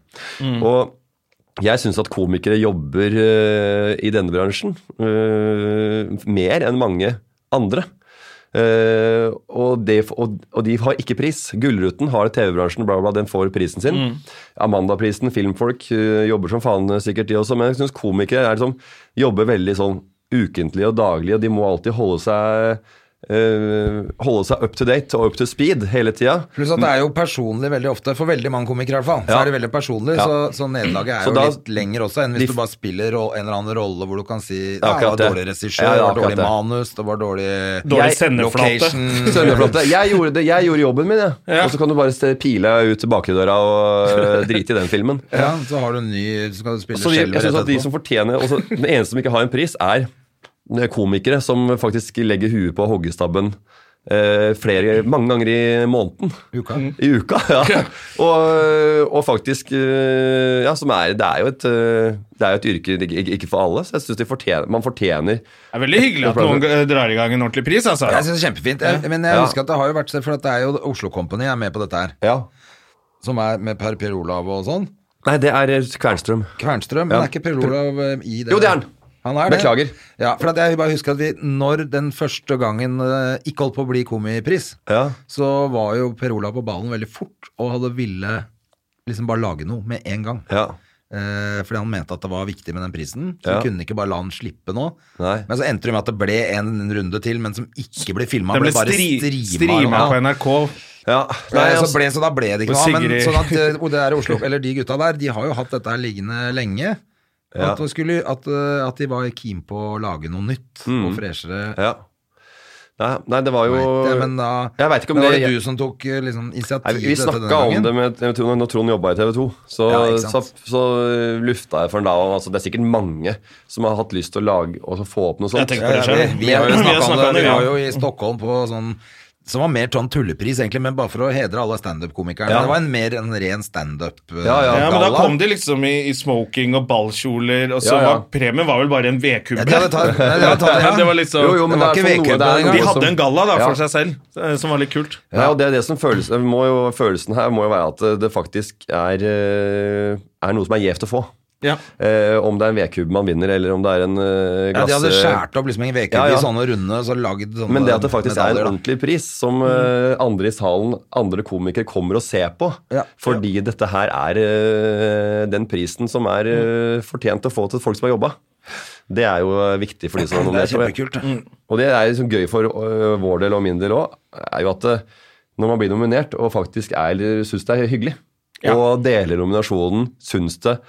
S3: Og jeg syns at komikere jobber eh, i denne bransjen eh, mer enn mange andre. Eh, og, det, og, og de har ikke pris. Gullruten har TV-bransjen, bla, bla, den får prisen sin. Amandaprisen, filmfolk eh, jobber som faen eh, sikkert, de også. Men jeg syns komikere er liksom, jobber veldig sånn ukentlig og daglig, og de må alltid holde seg eh, holde seg up to date og up to speed hele tida.
S1: Pluss at det er jo personlig veldig ofte, for veldig mange komikere i hvert fall, så
S3: Ja.
S1: er det veldig personlig,
S3: Ja.
S1: så, så nederlaget er
S3: Så
S1: jo
S3: da-
S1: litt lenger også enn
S3: de-
S1: hvis du bare spiller ro- en eller annen rolle hvor du kan si ja, det
S3: akkurat
S1: var
S3: det.
S1: dårlig regissør,
S3: Ja,
S1: det
S3: ja,
S1: var dårlig
S3: akkurat det.
S1: manus, det var dårlig,
S2: Dårlig
S3: Jeg-
S2: sendeflate. [LAUGHS]
S3: [LAUGHS] Søndagflate. Jeg gjorde, det, jeg gjorde jobben min, jeg. Og så kan du bare se- pile ut til bakdøra og øh, drite i den filmen.
S1: Ja, så har du en ny, så skal du spille
S3: Så de,
S1: skjelver
S3: jeg synes at de som fortjener også, Den eneste som ikke har en pris, er eh, komikere som faktisk legger huet på hoggestabben eh, flere, mange ganger i måneden.
S1: Uka.
S3: I uka, ja. [LAUGHS] Og, og faktisk eh, Ja, som er Det er jo et, eh, det er jo et yrke ikke- ikke for alle, så jeg syns de fortjener, man fortjener
S2: Det er veldig hyggelig at noen eh, drar i gang en ordentlig pris, altså.
S1: Jeg synes det er kjempefint, jeg, men jeg
S3: Ja.
S1: husker at det har jo vært, for at det er jo Oslo Company er med på dette her,
S3: Ja.
S1: som er med Per Per Olav og sånn,
S3: Nei, det er eh, Kvernstrøm.
S1: Kvernstrøm, men
S3: Ja.
S1: er ikke Per Olav eh, i det?
S3: Jo, det er han.
S1: Han er det.
S3: Beklager.
S1: Ja, for at jeg bare husker at vi, når den første gangen eh, ikke holdt på å bli komipris,
S3: Ja.
S1: så var jo Per Olav på ballen veldig fort og hadde ville liksom bare lage noe med en gang.
S3: Ja.
S1: Eh, fordi han mente at det var viktig med den prisen. Så
S3: Ja.
S1: vi kunne ikke bare la han slippe nå.
S3: Nei.
S1: Men så endte det med at det ble en runde til, men som ikke ble filma.
S2: Den ble
S1: bare
S2: stri
S1: streama.
S2: streama på NRK.
S3: ja.
S1: Nei,
S3: Nei,
S1: så,
S3: altså,
S1: ble, så da ble det ikke
S2: Og
S1: noe av. Men
S2: Sigrid-
S1: sånn at eh, og det der i Oslo, eller de gutta der, de har jo hatt dette her liggende lenge.
S3: Ja.
S1: At, de skulle, at, eh, at de var keen på å lage noe nytt og freshere.
S3: ja. Nei, nei, det var Mm. jo
S1: Vet jeg, men da,
S3: Jeg vet ikke om
S1: men
S3: det-
S1: var det du som tok eh, liksom,
S3: Nei,
S1: initiativ
S3: vi- vi snakka om det med jeg tror, når Trond jobba i TV 2. Så,
S1: Ja, ikke
S3: så,
S1: sant.
S3: så lufta jeg for en dag og altså, Det er sikkert mange som har hatt lyst til å lage og så få opp noe sånt.
S2: Jeg tenker på
S1: Ja,
S2: det
S1: ja, vi,
S2: selv.
S1: vi har jo snakka om det. Vi
S2: ja.
S1: var jo i Stockholm på sånn som var mer sånn tullepris, egentlig, men bare for å hedre alle standup-komikerne.
S3: Ja.
S1: Det var en mer en ren standup. eh,
S3: Ja, ja.
S2: Ja, men da
S1: gala.
S2: kom de liksom i, i smoking og ballkjoler, og så
S3: Ja, ja.
S2: var premien var vel bare en vedkubbe.
S1: Ja, de hadde tatt- nei, de hadde
S2: [LAUGHS]
S1: tatt det, ja.
S2: det var liksom,
S3: Jo, jo, men
S1: Det var
S3: det er
S1: ikke
S3: for noe,
S1: altså. VQ
S3: det er noe
S1: den
S2: De
S1: gangen.
S3: som-
S2: hadde en galla da
S3: Ja.
S2: for seg selv, eh, som var litt kult.
S3: Ja, og det er det som føles, må jo, Følelsen her må jo være at eh, det faktisk er, eh, er noe som er gjevt å få.
S2: Ja.
S3: Eh, om det er en vedkubbe man vinner, eller om det er en eh,
S1: Ja,
S3: glass...
S1: de hadde skåret opp liksom en VQ
S3: Ja, ja.
S1: i sånne runde, så lagd sånne
S3: men det at det faktisk er en
S1: medaljer, da. Mm.
S3: ordentlig pris som eh, andre i salen, andre komikere, kommer og ser på.
S1: Ja.
S3: Fordi dette her er eh, den prisen som er
S1: Mm.
S3: eh, fortjent å få til folk som har jobba. Det er jo eh, viktig for de
S1: [CLEARS THROAT]
S3: som har
S1: Det
S3: nominert.
S1: er
S3: tror jeg.
S1: kjempekult. det.
S3: Og det er liksom gøy for øh, vår del og min del òg, er jo at øh, når man blir nominert og faktisk er- syns det er hyggelig, og deler nominasjonen, syns det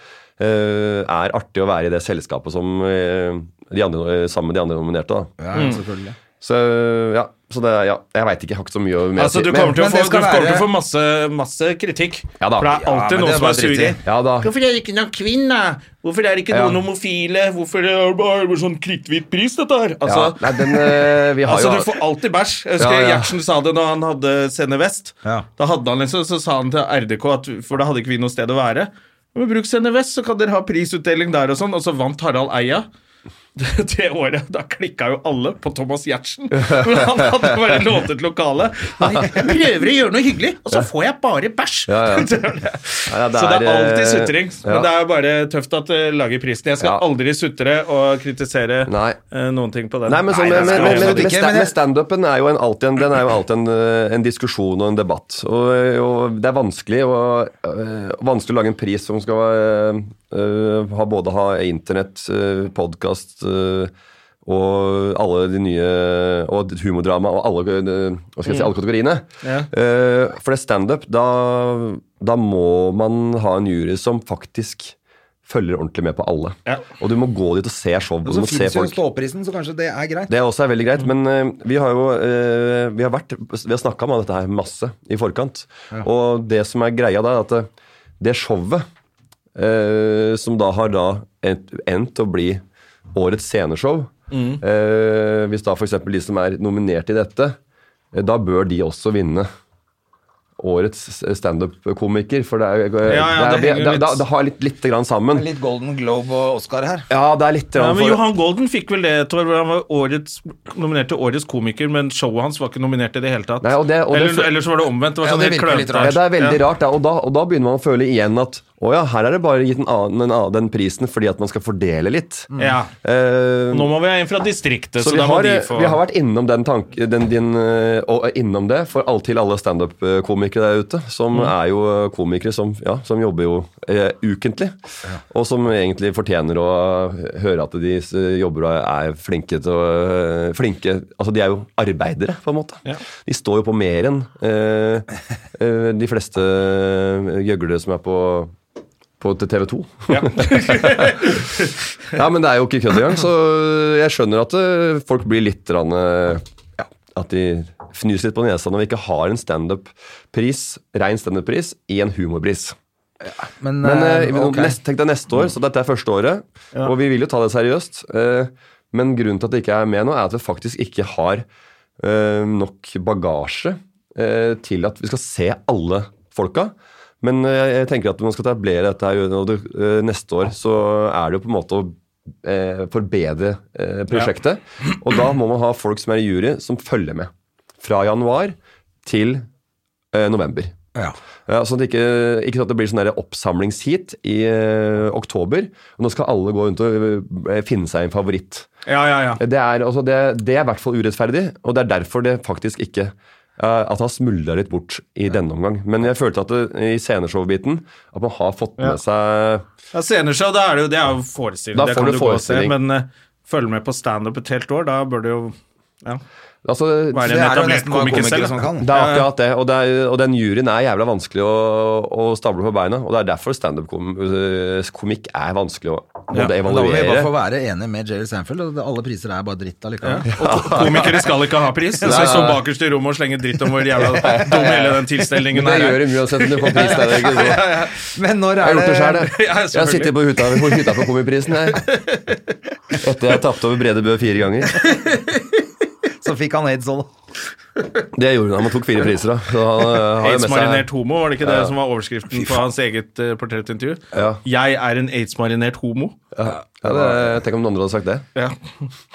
S3: øh, er artig å være i det selskapet som øh, de andre, sammen med de andre nominerte. da.
S1: Ja, selvfølgelig.
S3: Så øh, ja, så det, ja jeg veit ikke. Jeg har ikke så mye mer
S2: Altså, du
S3: Men-
S2: kommer til å
S1: men
S2: få,
S1: det
S2: du
S1: skal
S2: kommer til å
S1: være-
S2: få masse, masse kritikk.
S3: Ja da.
S2: For det er
S1: Ja,
S2: alltid
S1: men det
S2: noen
S1: er
S2: som
S1: bare
S2: er sure.
S1: dritt i.
S3: Ja da.
S2: Hvorfor er det ikke noen kvinner? Hvorfor er det ikke
S3: Ja.
S2: noen homofile? Hvorfor er det bare sånn kritthvit pris, dette her?
S3: Ja,
S2: Altså,
S3: nei, den, øh, vi har
S2: altså,
S3: jo
S2: du får alltid bæsj. Jeg husker
S3: Ja, ja.
S2: Gjertsen sa det når han hadde Sene Vest.
S1: Ja.
S2: Da hadde han liksom, så sa han til RDK, at, for da hadde ikke vi noe sted å være Men Bruk Sene Vest, så kan dere ha prisutdeling der og sånn. Og så vant Harald Eia. [LAUGHS] Det det året, Da klikka jo alle på Thomas
S3: [LAUGHS]
S2: Giertsen. Men han hadde bare låtet lokalet. Han, Jeg prøver å gjøre noe hyggelig, og så får jeg bare bæsj!
S3: Ja, ja.
S2: [LAUGHS] Det var det.
S3: ja, det
S2: så det er
S3: er,
S2: alltid
S3: eh,
S2: sutring.
S3: ja.
S2: Men det er jo bare tøft at det lager prisen. Jeg skal
S3: Ja.
S2: aldri sutre og kritisere
S3: Nei.
S2: eh, noen ting på den.
S3: Nei, men, sånn,
S2: det
S3: men,
S2: skal
S3: men,
S2: jeg
S3: men, men,
S2: absolutt
S1: ikke,
S2: ikke.
S3: sta-
S1: men jeg-
S3: men standupen er jo en, alltid, en, den er jo alltid en, øh, en diskusjon og en debatt. Og, eh, og det er vanskelig å, øh, vanskelig å lage en pris som skal øh, øh, ha både ha internett, øh, podkast øh, og alle de nye Og humordrama og alle, øh, hva skal jeg si,
S1: Mm.
S3: alle kategoriene. Eh, for det er standup, da, da må man ha en jury som faktisk følger ordentlig med på alle.
S2: Ja.
S3: Og du må gå dit og se show.
S1: Og
S3: Du
S1: så
S3: må se
S1: finnes jo
S3: folk.
S1: ståprisen, så kanskje det er greit.
S3: Det også er veldig
S2: Mm.
S3: greit, men eh, vi har jo eh, vi har vært, vi har snakka om dette her masse i forkant. Og det som er greia da, er at eh, det showet eh, som da har da endt, endt å bli årets sceneshow
S2: Mm.
S3: eh, Hvis da f.eks. de som er nominert i dette, eh, da bør de også vinne. Årets standup-komiker. For det, er, eh,
S2: Ja, ja, det
S3: det, er,
S2: henger
S3: det,
S2: litt-
S3: det, det har litt, lite grann sammen.
S1: Litt Golden Globe og Oscar her.
S3: Ja, det er litt
S2: Ja,
S3: grann
S2: men
S3: for-
S2: Johan Golden fikk vel det, Tor. hvor Han var årets, nominert til Årets komiker, men showet hans var ikke nominert i det hele tatt.
S3: Nei, og det- og det-
S2: eller, eller så var det omvendt. Det var
S1: Ja,
S2: sånn
S1: Altså, det
S2: helt
S1: virker litt
S2: klønete.
S3: Ja, det er veldig
S2: Ja.
S3: rart, da. Og, da, og da begynner man å føle igjen at å ja, her er det bare gitt en annen, en annen, den prisen fordi at man skal fordele litt.
S2: Ja.
S3: Eh,
S2: Nå må vi ha en fra distriktet,
S3: Mm.
S2: så,
S3: så vi
S2: da må
S3: har, eh,
S2: de få
S3: vi har vært innom, den tank, den, din, eh, og innom det for all, til alle standup-komikere der ute. Som
S2: Mm.
S3: er jo eh, komikere som, ja, som jobber jo eh, ukentlig. Og som egentlig fortjener å eh, høre at de eh, jobber og er flinke til å eh, flinke, Altså de er jo arbeidere, på en måte.
S2: Ja.
S3: De står jo på mer enn eh, eh, de fleste eh, gjøglere som er på på TV 2.
S2: Ja.
S3: Ja, men det er jo ikke kødd engang, så jeg skjønner at eh, folk blir litt grann, eh, ja, At de fnyser litt på nesa når vi ikke har en standup-pris, rein standup-pris, i en humorpris.
S1: Men,
S3: Men eh,
S1: eh,
S3: vi-
S1: ok.
S3: neste, tenk deg neste år, så dette er første året, og vi vil jo ta det seriøst. eh, men grunnen til at det ikke er med nå, er at vi faktisk ikke har eh, nok bagasje eh, til at vi skal se alle folka. Men eh, jeg tenker at man skal etablere dette her, og det, eh, neste år så er det jo på en måte å eh, forbedre eh, prosjektet. Og da må man ha folk som er i jury, som følger med. Fra januar til eh, november.
S1: Ja.
S3: Ja, sånn at det ikke, ikke at det blir sånn der oppsamlingsheat i eh, oktober. Og nå skal alle gå rundt og eh, finne seg en favoritt.
S2: ja, ja, ja.
S3: Det er, altså, det, det er i hvert fall urettferdig, og det er derfor det faktisk ikke eh, at han smuldra litt bort i denne omgang. Men jeg følte at det, i sceneshow-biten at man har fått med seg
S2: Ja, sceneshow, da er det jo, det er jo forestilling.
S3: Da
S2: det
S3: får
S2: kan
S3: du
S2: du gå og se,
S3: forestilling.
S2: men eh, følg med på standup et helt år, da bør du jo ja,
S3: altså,
S2: være
S1: Det er det jo
S2: en etablert
S1: nesten bare
S2: komiker
S1: komikere
S2: selv.
S1: som
S2: da.
S1: kan.
S3: Det er akkurat det, og, det er, og den juryen er jævla vanskelig å, å stable på beina. Og det er derfor standup-komikk er vanskelig å
S2: Ja,
S3: både
S1: Men Da må vi bare få
S3: evaluere
S1: være enige med Jerry Sanfield. og Alle priser er bare dritt allikevel.
S2: Og [LAUGHS] komikere skal ikke ha pris. Så vi så bakerst i rommet og slenge dritt om hvor
S3: [LAUGHS]
S2: jævla dum hele den
S3: Men
S2: tilstelningen
S3: det
S2: her
S3: gjør
S2: er.
S3: det mye uansett om du får pris der. Ikke? Så.
S1: [LAUGHS] Men når
S3: Jeg har
S1: er
S3: gjort det sjøl, jeg.
S1: det
S2: Ja, selvfølgelig.
S3: Jeg har sittet på hytta, på hytta på Komiprisen, jeg. Etter jeg tapte over Brede Bø fire ganger.
S1: Så fikk han aids òg, da.
S3: Det gjorde han, han tok fire priser, da. Så han øh, har jo med
S2: Aids-marinert
S3: seg
S2: homo, var det ikke det som var overskriften på hans eget eh, portrettintervju?
S3: Ja.
S2: Jeg er en aids-marinert homo.
S3: ja, det, Tenk om noen andre hadde sagt det. [LAUGHS]
S2: Ja.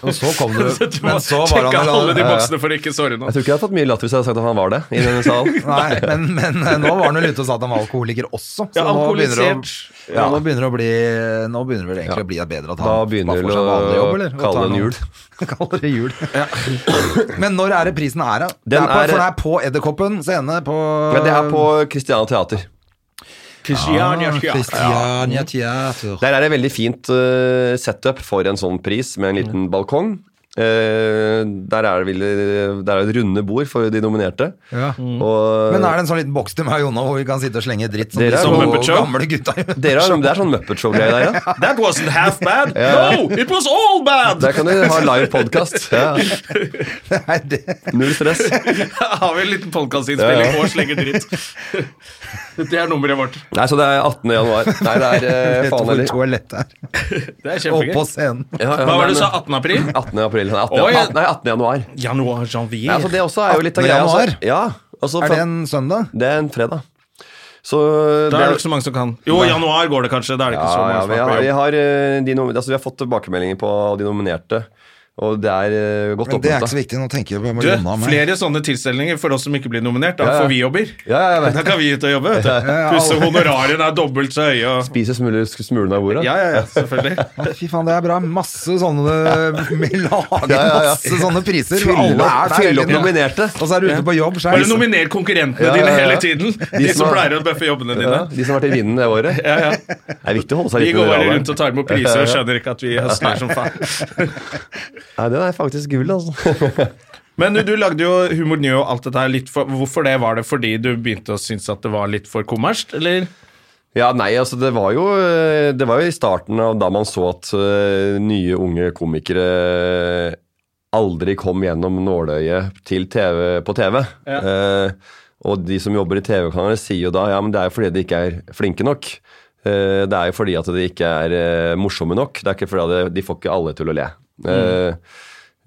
S1: Og så [LAUGHS] kom du
S2: Så du må
S1: Men så var
S2: sjekke
S1: han
S2: alle de
S1: vel
S2: boksene for å ikke såre
S3: Jeg
S2: noen.
S3: tror ikke jeg hadde fått mye latter hvis jeg hadde sagt at han var det i denne salen.
S1: Nei, men, men eh, nå var han vel ute og sa at han var alkoholiker også. Så
S2: Ja,
S1: nå begynner det å,
S2: alkoholisert.
S1: ja, nå begynner det å bli Nå begynner det vel egentlig å bli bedre at han
S3: Da begynner
S1: bare
S3: det
S1: får seg
S3: å
S1: vanlig jobb, eller? Og
S3: kalle
S1: tar
S3: det en
S1: noe-
S3: jul.
S1: [LAUGHS] kaller det jul. Men når er det prisen er, da? Det
S3: Den
S1: er på,
S3: er-
S1: for det er på Edderkoppen scene på
S3: Men det er på Christiana Teater.
S1: Ah,
S2: Christiania, ja.
S1: Christiania Teater.
S3: Der er det veldig fint eh, setup for en sånn pris med en liten balkong. Eh, der er det vel- der er det runde bord for de nominerte.
S1: Ja.
S3: Og
S1: Men er det en sånn liten boks til meg og Jonna hvor vi kan sitte og slenge dritt som
S3: Dere er
S1: de to
S2: som Muppet Show.
S1: gamle gutta gjør?
S3: dere har, det er sånn Muppet Show-greie der, ja.
S2: That wasn't half bad. No, it was all bad!
S3: Der kan du ha live podkast. Ja.
S1: Nei, det
S3: Null stress.
S2: [LAUGHS] Har vi en liten podkastinnspilling
S3: Ja, ja.
S2: og slenger dritt. Det er nummeret vårt.
S3: Nei, så det er 18. januar. Nei, det
S1: [LAUGHS]
S3: er eh, faen
S1: Hvor
S3: heller.
S1: toalettet er.
S2: Det er
S1: Og på
S2: kjempegøy.
S1: scenen.
S3: Ja, ja,
S2: Hva var
S3: men-
S2: det du sa? 18. april?
S3: 18. april. Nei, 18.
S2: Oi.
S3: nei, 18. januar.
S2: Januar,
S3: Nei, altså,
S2: janvier.
S3: det også er jo litt av
S1: 18.
S3: greia. altså.
S1: januar?
S3: Ja, altså,
S1: Er det en søndag?
S3: det er en fredag. Så
S2: Da er det ikke så mange som kan. Jo, januar går det kanskje. Da er det ikke
S3: Ja,
S2: så
S3: ja,
S2: mange som
S3: vi
S2: er
S3: har,
S2: på
S3: vi,
S2: jobb.
S3: har, eh, de nom- altså, vi har fått tilbakemeldinger på de nominerte, og det er eh, godt
S1: Men det er ikke så
S3: oppmuntra.
S1: viktig. Nå tenker jeg på
S2: Du,
S1: Jonna og meg.
S2: flere sånne tilstelninger for oss som ikke blir nominert. Da får vi jobber.
S3: Ja, ja, jeg vet.
S2: Da kan vi ut og jobbe. vet du.
S1: ja,
S2: Pluss
S1: alle-
S2: honorariene er dobbelt så høye. Og...
S3: Spiser smuler, smulene av bordet.
S2: Ja, ja, ja, selvfølgelig.
S1: Fy faen, det er bra. Masse sånne [LAUGHS] Vi lager
S3: Ja, ja, ja.
S1: masse sånne priser.
S3: Fyll
S1: Alle
S3: opp-
S1: er der.
S3: fyll
S1: hele
S3: opp
S1: tiden.
S3: nominerte.
S1: Og så er du ute på jobb. Så er
S2: Bare
S1: det
S2: nominer konkurrentene
S3: Ja, ja,
S2: dine
S3: ja.
S2: hele tiden. De som
S3: som-
S2: pleier å bøffe jobbene dine.
S3: Ja, de som har vært i vinden det året. Det er viktig å holde seg
S2: De
S3: litt
S2: går
S3: under
S2: bare
S3: radaren.
S2: rundt og tar imot priser og skjønner ikke at vi høsler som faen.
S3: [LAUGHS] Nei, den er faktisk gull, altså.
S2: Men du, du lagde jo Humor Njø og alt dette her litt for Hvorfor det? Var det fordi du begynte å synes at det var litt for kommersielt, eller?
S3: Ja, nei, altså det var jo eh, Det var jo i starten av da man så at eh, nye unge komikere aldri kom gjennom nåløyet til TV, på TV. Eh, og de som jobber i TV-kanaler sier jo da ja, men det er jo fordi de ikke er flinke nok. Eh, det er jo fordi at de ikke er eh, morsomme nok. Det er ikke fordi at de får ikke alle til å le. Eh,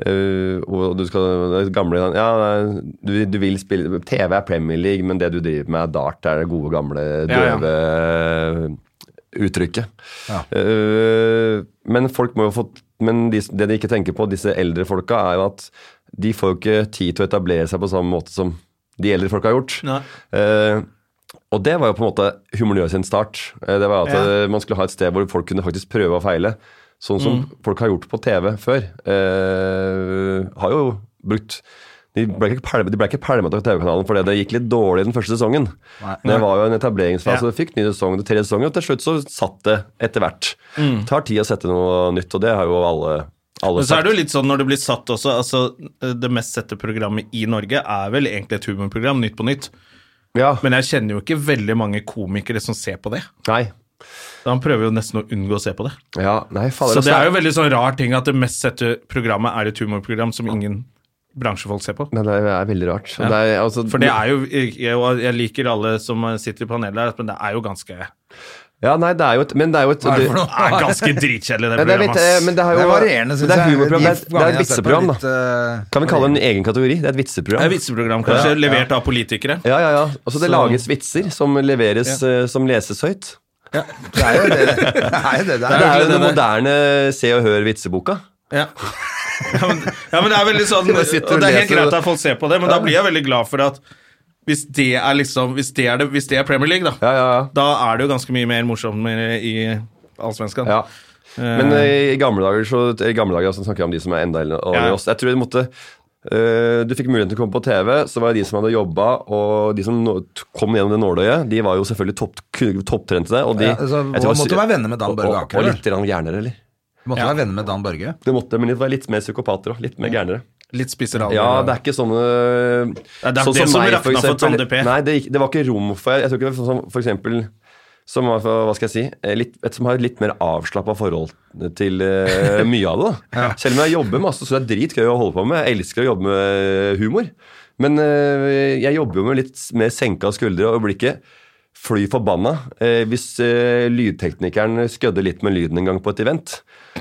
S3: eh, og du skal det gamle, ja, nei, du, du vil spille TV er Premier League, men det du driver med er dart. Det er det gode, gamle,
S2: Ja, ja.
S3: døve uttrykket. Eh, men folk må jo få Men de, det de ikke tenker på, disse eldre folka, er jo at de får jo ikke tid til å etablere seg på samme måte som de eldre folka har gjort.
S2: Nei.
S3: Eh, og det var jo på en måte humorløs sin start. Eh, Det var at
S2: Ja.
S3: eh, Man skulle ha et sted hvor folk kunne faktisk prøve og feile. Sånn som
S2: Mm.
S3: folk har gjort på TV før. Eh, har jo brukt De ble ikke pælma de ble ikke pælmet av TV-kanalen fordi det gikk litt dårlig den første sesongen. Det var jo en etableringsfase.
S2: Ja.
S3: Det fikk ny sesong, det tre sesonger, og til slutt så satt det etter hvert. Det tar tid å sette noe nytt, og det har jo alle, alle
S2: Mm. Men så er
S3: sagt.
S2: det jo litt sånn når det blir satt også, altså det mest sette programmet i Norge er vel egentlig et humorprogram, Nytt på nytt.
S3: Ja,
S2: Men jeg kjenner jo ikke veldig mange komikere som ser på det.
S3: nei.
S2: Så han prøver jo nesten å unngå å se på det.
S3: Ja, nei, fader.
S2: Så det
S3: altså,
S2: er jo veldig sånn rar ting at det mest sette programmet er et humorprogram som ingen bransjefolk ser på.
S3: Nei, det er veldig rart. Det er, altså,
S2: For det er jo, jeg, jeg liker alle som sitter i panelet her, men det er jo ganske, det
S3: Ja, nei, det er jo et, men det er jo et
S2: [LAUGHS]
S1: Hva er det for noe?
S2: er ganske dritkjedelig det
S3: Ja, det er litt,
S2: programmet.
S3: eh,
S2: ass.
S3: men det er
S1: Det
S3: jo
S1: er varierende,
S3: men
S1: syns
S3: det er
S1: jeg.
S3: humorprogram, det er, det
S1: De
S3: er
S1: gangene
S3: et
S1: jeg har sett på
S3: vitseprogram,
S1: litt,
S3: da.
S1: eh,
S3: Kan vi kalle det en egen kategori? Det er et vitseprogram.
S2: Det er et vitseprogram, kanskje, levert av politikere.
S3: Ja, ja, ja. Altså, det
S2: Så-
S3: lages vitser som leveres, eh, som leses høyt.
S1: Det er jo
S3: [LAUGHS]
S1: det det er. Jo det, det
S3: Det
S1: er.
S3: er jo
S2: det
S3: den
S2: der.
S3: moderne Se og Hør-vitseboka.
S2: Ja. Ja, men, ja, men det er veldig sånn
S3: [LAUGHS] Du bare sitter og
S2: Og det er helt
S3: leser det.
S2: greit at folk ser på det, men da blir jeg veldig glad for at hvis det er liksom Hvis det er, det, hvis det er Premier League, da,
S3: Ja, ja, ja.
S2: da er det jo ganske mye mer morsommere i Allsvenskan.
S3: Ja. eh, Men eh, i gamle dager så, i gamle dager så snakker jeg altså, om de som er enda eldre enn
S2: Ja.
S3: oss. Jeg tror det måtte Eh, Du fikk muligheten til å komme på TV, så var det de som hadde jobba, og de som nå- t- kom gjennom det nåløyet, de var jo selvfølgelig topp, kun- topptrente. Og de,
S1: Ja, altså,
S3: jeg tror
S1: man måtte
S3: sy-
S1: være venner med Dan
S3: og-
S1: Børge
S3: og-
S1: Aker,
S3: Og
S1: eller?
S3: litt grann gærnere, eller?
S1: Måtte være venner med Dan Børge.
S3: Det måtte, men de var litt mer psykopater og litt mer gærnere.
S2: Litt spisser alvor.
S3: Ja, det er ikke sånne sånn
S2: er det som rakna for Tande P.
S3: Nei, det, gikk- det var ikke rom for Jeg tror ikke det var sånn som for eksempel som var, for- hva skal jeg si, eh, litt, et som har et litt mer avslappa forhold til
S2: [LAUGHS]
S3: eh, mye av det. da. Selv om jeg jobber masse, så det er dritgøy å holde på med. Jeg elsker å jobbe med humor. Men eh, jeg jobber jo med litt mer senka skuldre og blir ikke fly forbanna eh, hvis eh, lydteknikeren skødder litt med lyden en gang på et event.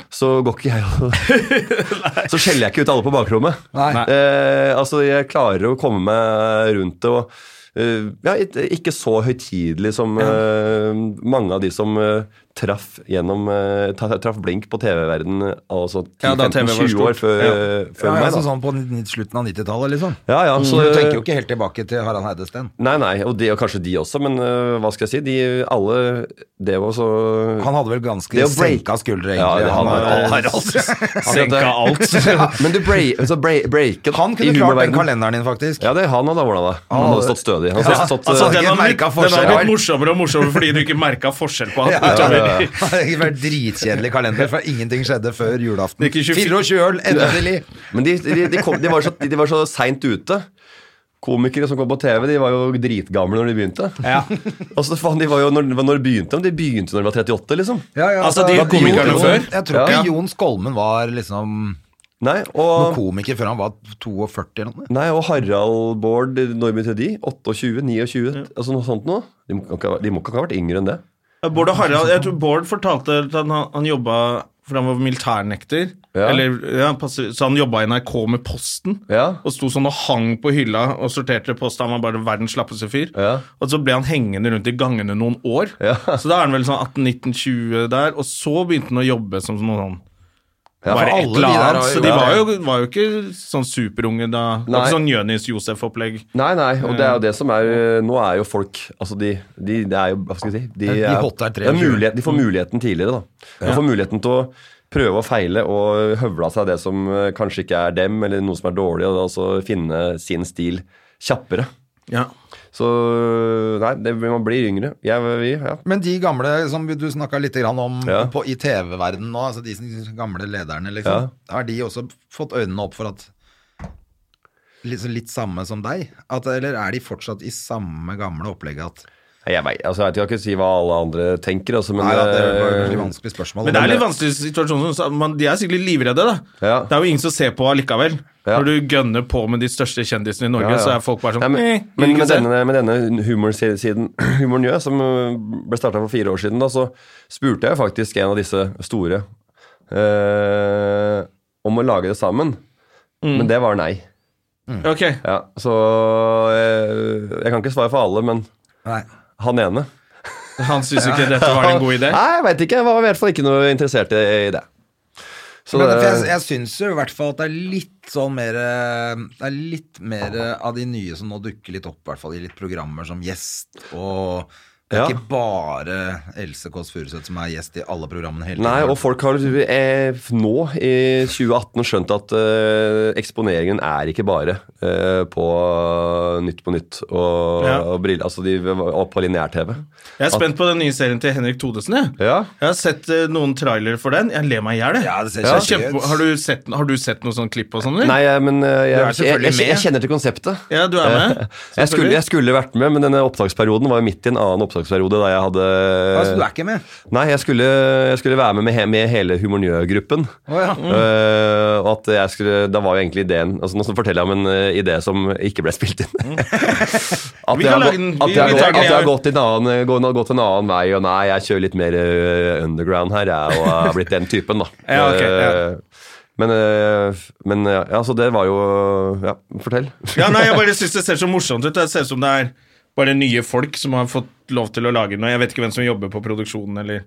S3: Så går ikke jeg og så skjeller jeg ikke ut alle på bakrommet.
S1: Nei.
S3: Eh, altså, jeg klarer å komme meg rundt det. og eh, ja, it- ikke så høytidelig som eh, mange av de som eh, traff gjennom eh, tra- traff blink på TV-verden altså
S2: Ja, da TV var
S3: 10-15-20 år
S2: stort.
S3: før, eh, før
S1: Ja,
S3: meg.
S1: altså
S3: Da.
S1: sånn på n- slutten av 90-tallet, liksom.
S3: Ja, ja, så,
S1: Så du tenker jo ikke helt tilbake til Harald Heidesteen.
S3: Nei, nei, og, de, og kanskje de også, men eh, hva skal jeg si? De, alle Det var så
S1: Han hadde vel ganske
S3: Det å break-
S1: senka skuldre, egentlig.
S3: Ja, det- han
S1: var-
S3: var-
S2: Senka
S3: [LAUGHS]
S2: alt.
S3: Men du break, altså, break, breaket i
S1: Han kunne klart den
S3: humorverdenen.
S1: kalenderen din, faktisk.
S3: Ja, det han hadde ordna det. Han hadde stått stødig. Han hadde stått,
S2: Altså,
S3: eh,
S2: den
S1: Ikke
S2: har blitt,
S1: merket
S2: den har
S1: forskjell.
S2: blitt morsommere og morsommere fordi du ikke merka forskjell på [LAUGHS] han.
S1: Ja,
S2: utover.
S1: ja, ja. Det hadde vært dritkjedelig kalender, for ingenting skjedde før julaften.
S2: Det gikk i 24
S1: 24 øl, endelig!
S3: [LAUGHS] Men de, de, de, kom, de var så, de var så seint ute. Komikere som kom på TV, de var jo dritgamle når de begynte. [LAUGHS] Altså, faen, de var jo, når, når begynte de? De begynte når de var 38, liksom.
S1: Ja, ja,
S2: Altså, de
S1: Jon-
S2: komikerne
S1: Jon-
S2: før?
S1: Jeg tror ikke
S3: Ja.
S1: Jon Skolmen var liksom
S3: Nei,
S1: noen
S3: og,
S1: komiker før han var 42 eller noe.
S3: nei, og Harald Bård, når begynte de? 28? 29? Altså noe sånt noe. De må, ikke ha- de må ikke ha vært yngre enn det.
S2: Bård og Harald, jeg tror Bård fortalte at han, han jobba for han var militærnekter.
S3: Ja.
S2: Eller, ja, passer- så han jobba i NRK med Posten.
S3: Ja.
S2: Og sto sånn og hang på hylla og sorterte post. Han var bare verdens slappeste fyr.
S3: Ja.
S2: Og så ble han hengende rundt i gangene noen år.
S3: Ja.
S2: Så da er han vel sånn 18-19-20 der, og så begynte han å jobbe som noe sånn
S3: Ja, for
S2: bare
S1: alle
S2: et eller
S1: de der
S2: annet.
S1: har jo-
S2: Så de
S1: ja.
S2: var jo, var jo ikke sånn superunge da. Det var
S3: Nei.
S2: ikke sånn Jonis-Josef-opplegg.
S3: Nei, nei, og det er jo det som er eh, Nå er jo folk Altså, de, de det er jo Hva skal vi si? De,
S1: De Mm.
S3: er-
S1: hotte er
S3: det er
S1: 23.
S3: mulighet, de får muligheten tidligere, da. De får muligheten til å prøve og feile og høvle av seg det som eh, kanskje ikke er dem, eller noe som er dårlig, og da altså finne sin stil kjappere.
S2: Ja.
S3: Så nei, det, man blir yngre. Jeg, vi, ja.
S1: Men de gamle som du snakka litt grann om
S3: Ja.
S1: på, i TV-verdenen nå, altså de som- gamle lederne, liksom, har de også fått øynene opp for at Liksom litt samme som deg? At, eller er de fortsatt i samme gamle opplegget at
S3: Nei, Jeg, vet, altså, jeg vet jeg kan ikke si hva alle andre tenker, altså, men
S1: Nei, ja, det er bare et
S3: eh,
S1: veldig vanskelig spørsmål.
S2: Men det er litt vanskelig situasjon. sånn, så man- De er sikkert litt livredde, da.
S3: Ja.
S2: Det er jo ingen som ser på allikevel.
S3: Ja.
S2: Når du gønner på med de største kjendisene i Norge,
S3: Ja, ja.
S2: så er folk bare sånn
S3: Nei, men,
S2: «Eh, vil
S3: men
S2: ikke
S3: med,
S2: se».
S3: denne, med denne humorsiden [CLEARS THROAT] Humoren Gjø, som øh, ble starta for fire år siden, da, så spurte jeg faktisk en av disse store eh, om å lage det sammen.
S2: Mm.
S3: Men det var nei.
S2: Ok.
S3: Ja, så eh, jeg kan ikke svare for alle, men
S1: Nei.
S3: han ene
S2: Han syns ikke dette var en god idé.
S3: Nei, jeg veit ikke. Jeg var i hvert fall ikke noe interessert i, i det. Så
S1: Men
S3: det-
S1: for jeg, jeg syns jo i hvert fall at det er litt sånn mer eh, Det er litt mer eh, av de nye som nå dukker litt opp, i hvert fall i litt programmer som gjest og det er
S3: Ja.
S1: ikke bare Else Kåss Furuseth som er gjest i alle programmene hele tiden.
S3: Nei, og folk har eh, nå i 2018 skjønt at eh, eksponeringen er ikke bare eh, på Nytt på Nytt og,
S2: Ja.
S3: og briller, altså de, og på lineær-TV.
S2: Jeg er spent på den nye serien til Henrik Thodesen. Jeg,
S3: Ja.
S2: jeg har sett eh, noen trailere for den. Jeg ler meg i hjel. jeg.
S1: Ja, det ser
S2: Jeg er
S1: kjempegøy
S2: kjempe-
S1: ut.
S2: Har, du sett- har du sett noe sånn klipp og sånn? eller?
S3: Nei, jeg- men eh, jeg,
S1: Du er
S3: jeg,
S1: selvfølgelig
S3: jeg, jeg
S1: med.
S3: kjenner til konseptet.
S2: Ja, du er med?
S3: [LAUGHS] Jeg skulle, jeg skulle vært med, men denne opptaksperioden var jo midt i en annen opptaksperiode da jeg hadde
S1: Altså, du er ikke med?
S3: Nei, jeg skulle, jeg skulle være med med, he- med hele Humornjø-gruppen.
S1: Å ja.
S2: Mm.
S3: Eh, og at jeg skulle, da var jo egentlig ideen altså Nå så forteller jeg om en eh, idé som ikke ble spilt inn. [LAUGHS] at
S2: Vi
S3: jeg
S2: Mm. kan
S3: har gått-
S2: lage den.
S3: at
S2: Vi-
S3: jeg har
S2: vi
S3: gått-
S2: tar den.
S3: at jeg har gått en annen- gå- gått en annen vei, og nei, jeg kjører litt mer eh, underground her, jeg, og har blitt den typen, da.
S2: [LAUGHS] Ja, ok, ja.
S3: Eh, Men, eh, men ja, ja, så det var jo Ja, fortell.
S2: Ja, nei, jeg bare synes det ser så morsomt ut. Det ser ut som det er bare nye folk som har fått lov til å lage noe. Jeg vet ikke hvem som jobber på produksjonen, eller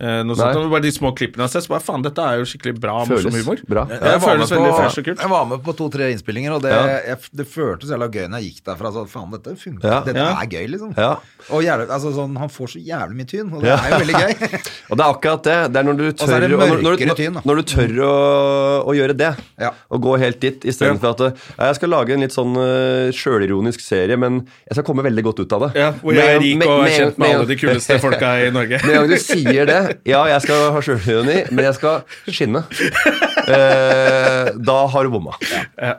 S2: eh, noe
S3: Nei.
S2: sånt. Det var bare de små klippene jeg har sett, så bare faen, dette er jo skikkelig bra morsom
S3: Føles
S2: humor.
S3: bra.
S2: Ja,
S3: Jeg
S2: det
S1: var med
S2: føles veldig
S1: på-
S2: fresh og kult.
S1: Jeg var med på to-tre innspillinger, og det,
S3: Ja.
S1: jeg, det føltes jævla gøy når jeg gikk derfra. Så, faen, dette funker.
S3: Ja.
S1: Dette
S2: Ja.
S1: er gøy, liksom.
S3: Ja.
S1: Og jævlig, altså, sånn, han får så jævlig mye tyn, og det er jo veldig
S3: [LAUGHS]
S1: gøy.
S3: Og det er akkurat det. Det er når du
S1: så
S3: tør,
S1: er det
S3: og når, når,
S1: mørkere tyn, da.
S3: når, når du tør å, å gjøre det,
S1: Ja.
S3: og gå helt dit, istedenfor at eh, jeg skal lage en litt sånn uh, sjølironisk serie, men jeg skal komme veldig godt ut av det.
S2: Ja, hvor jeg er
S3: Med-
S2: rik og er kjent med alle de
S3: med- [LAUGHS]
S2: kuleste folka i Norge.
S3: Med en gang du sier det Ja, jeg skal ha sjølironi, men jeg skal skinne. Eh, da har du bomma.
S2: Ja.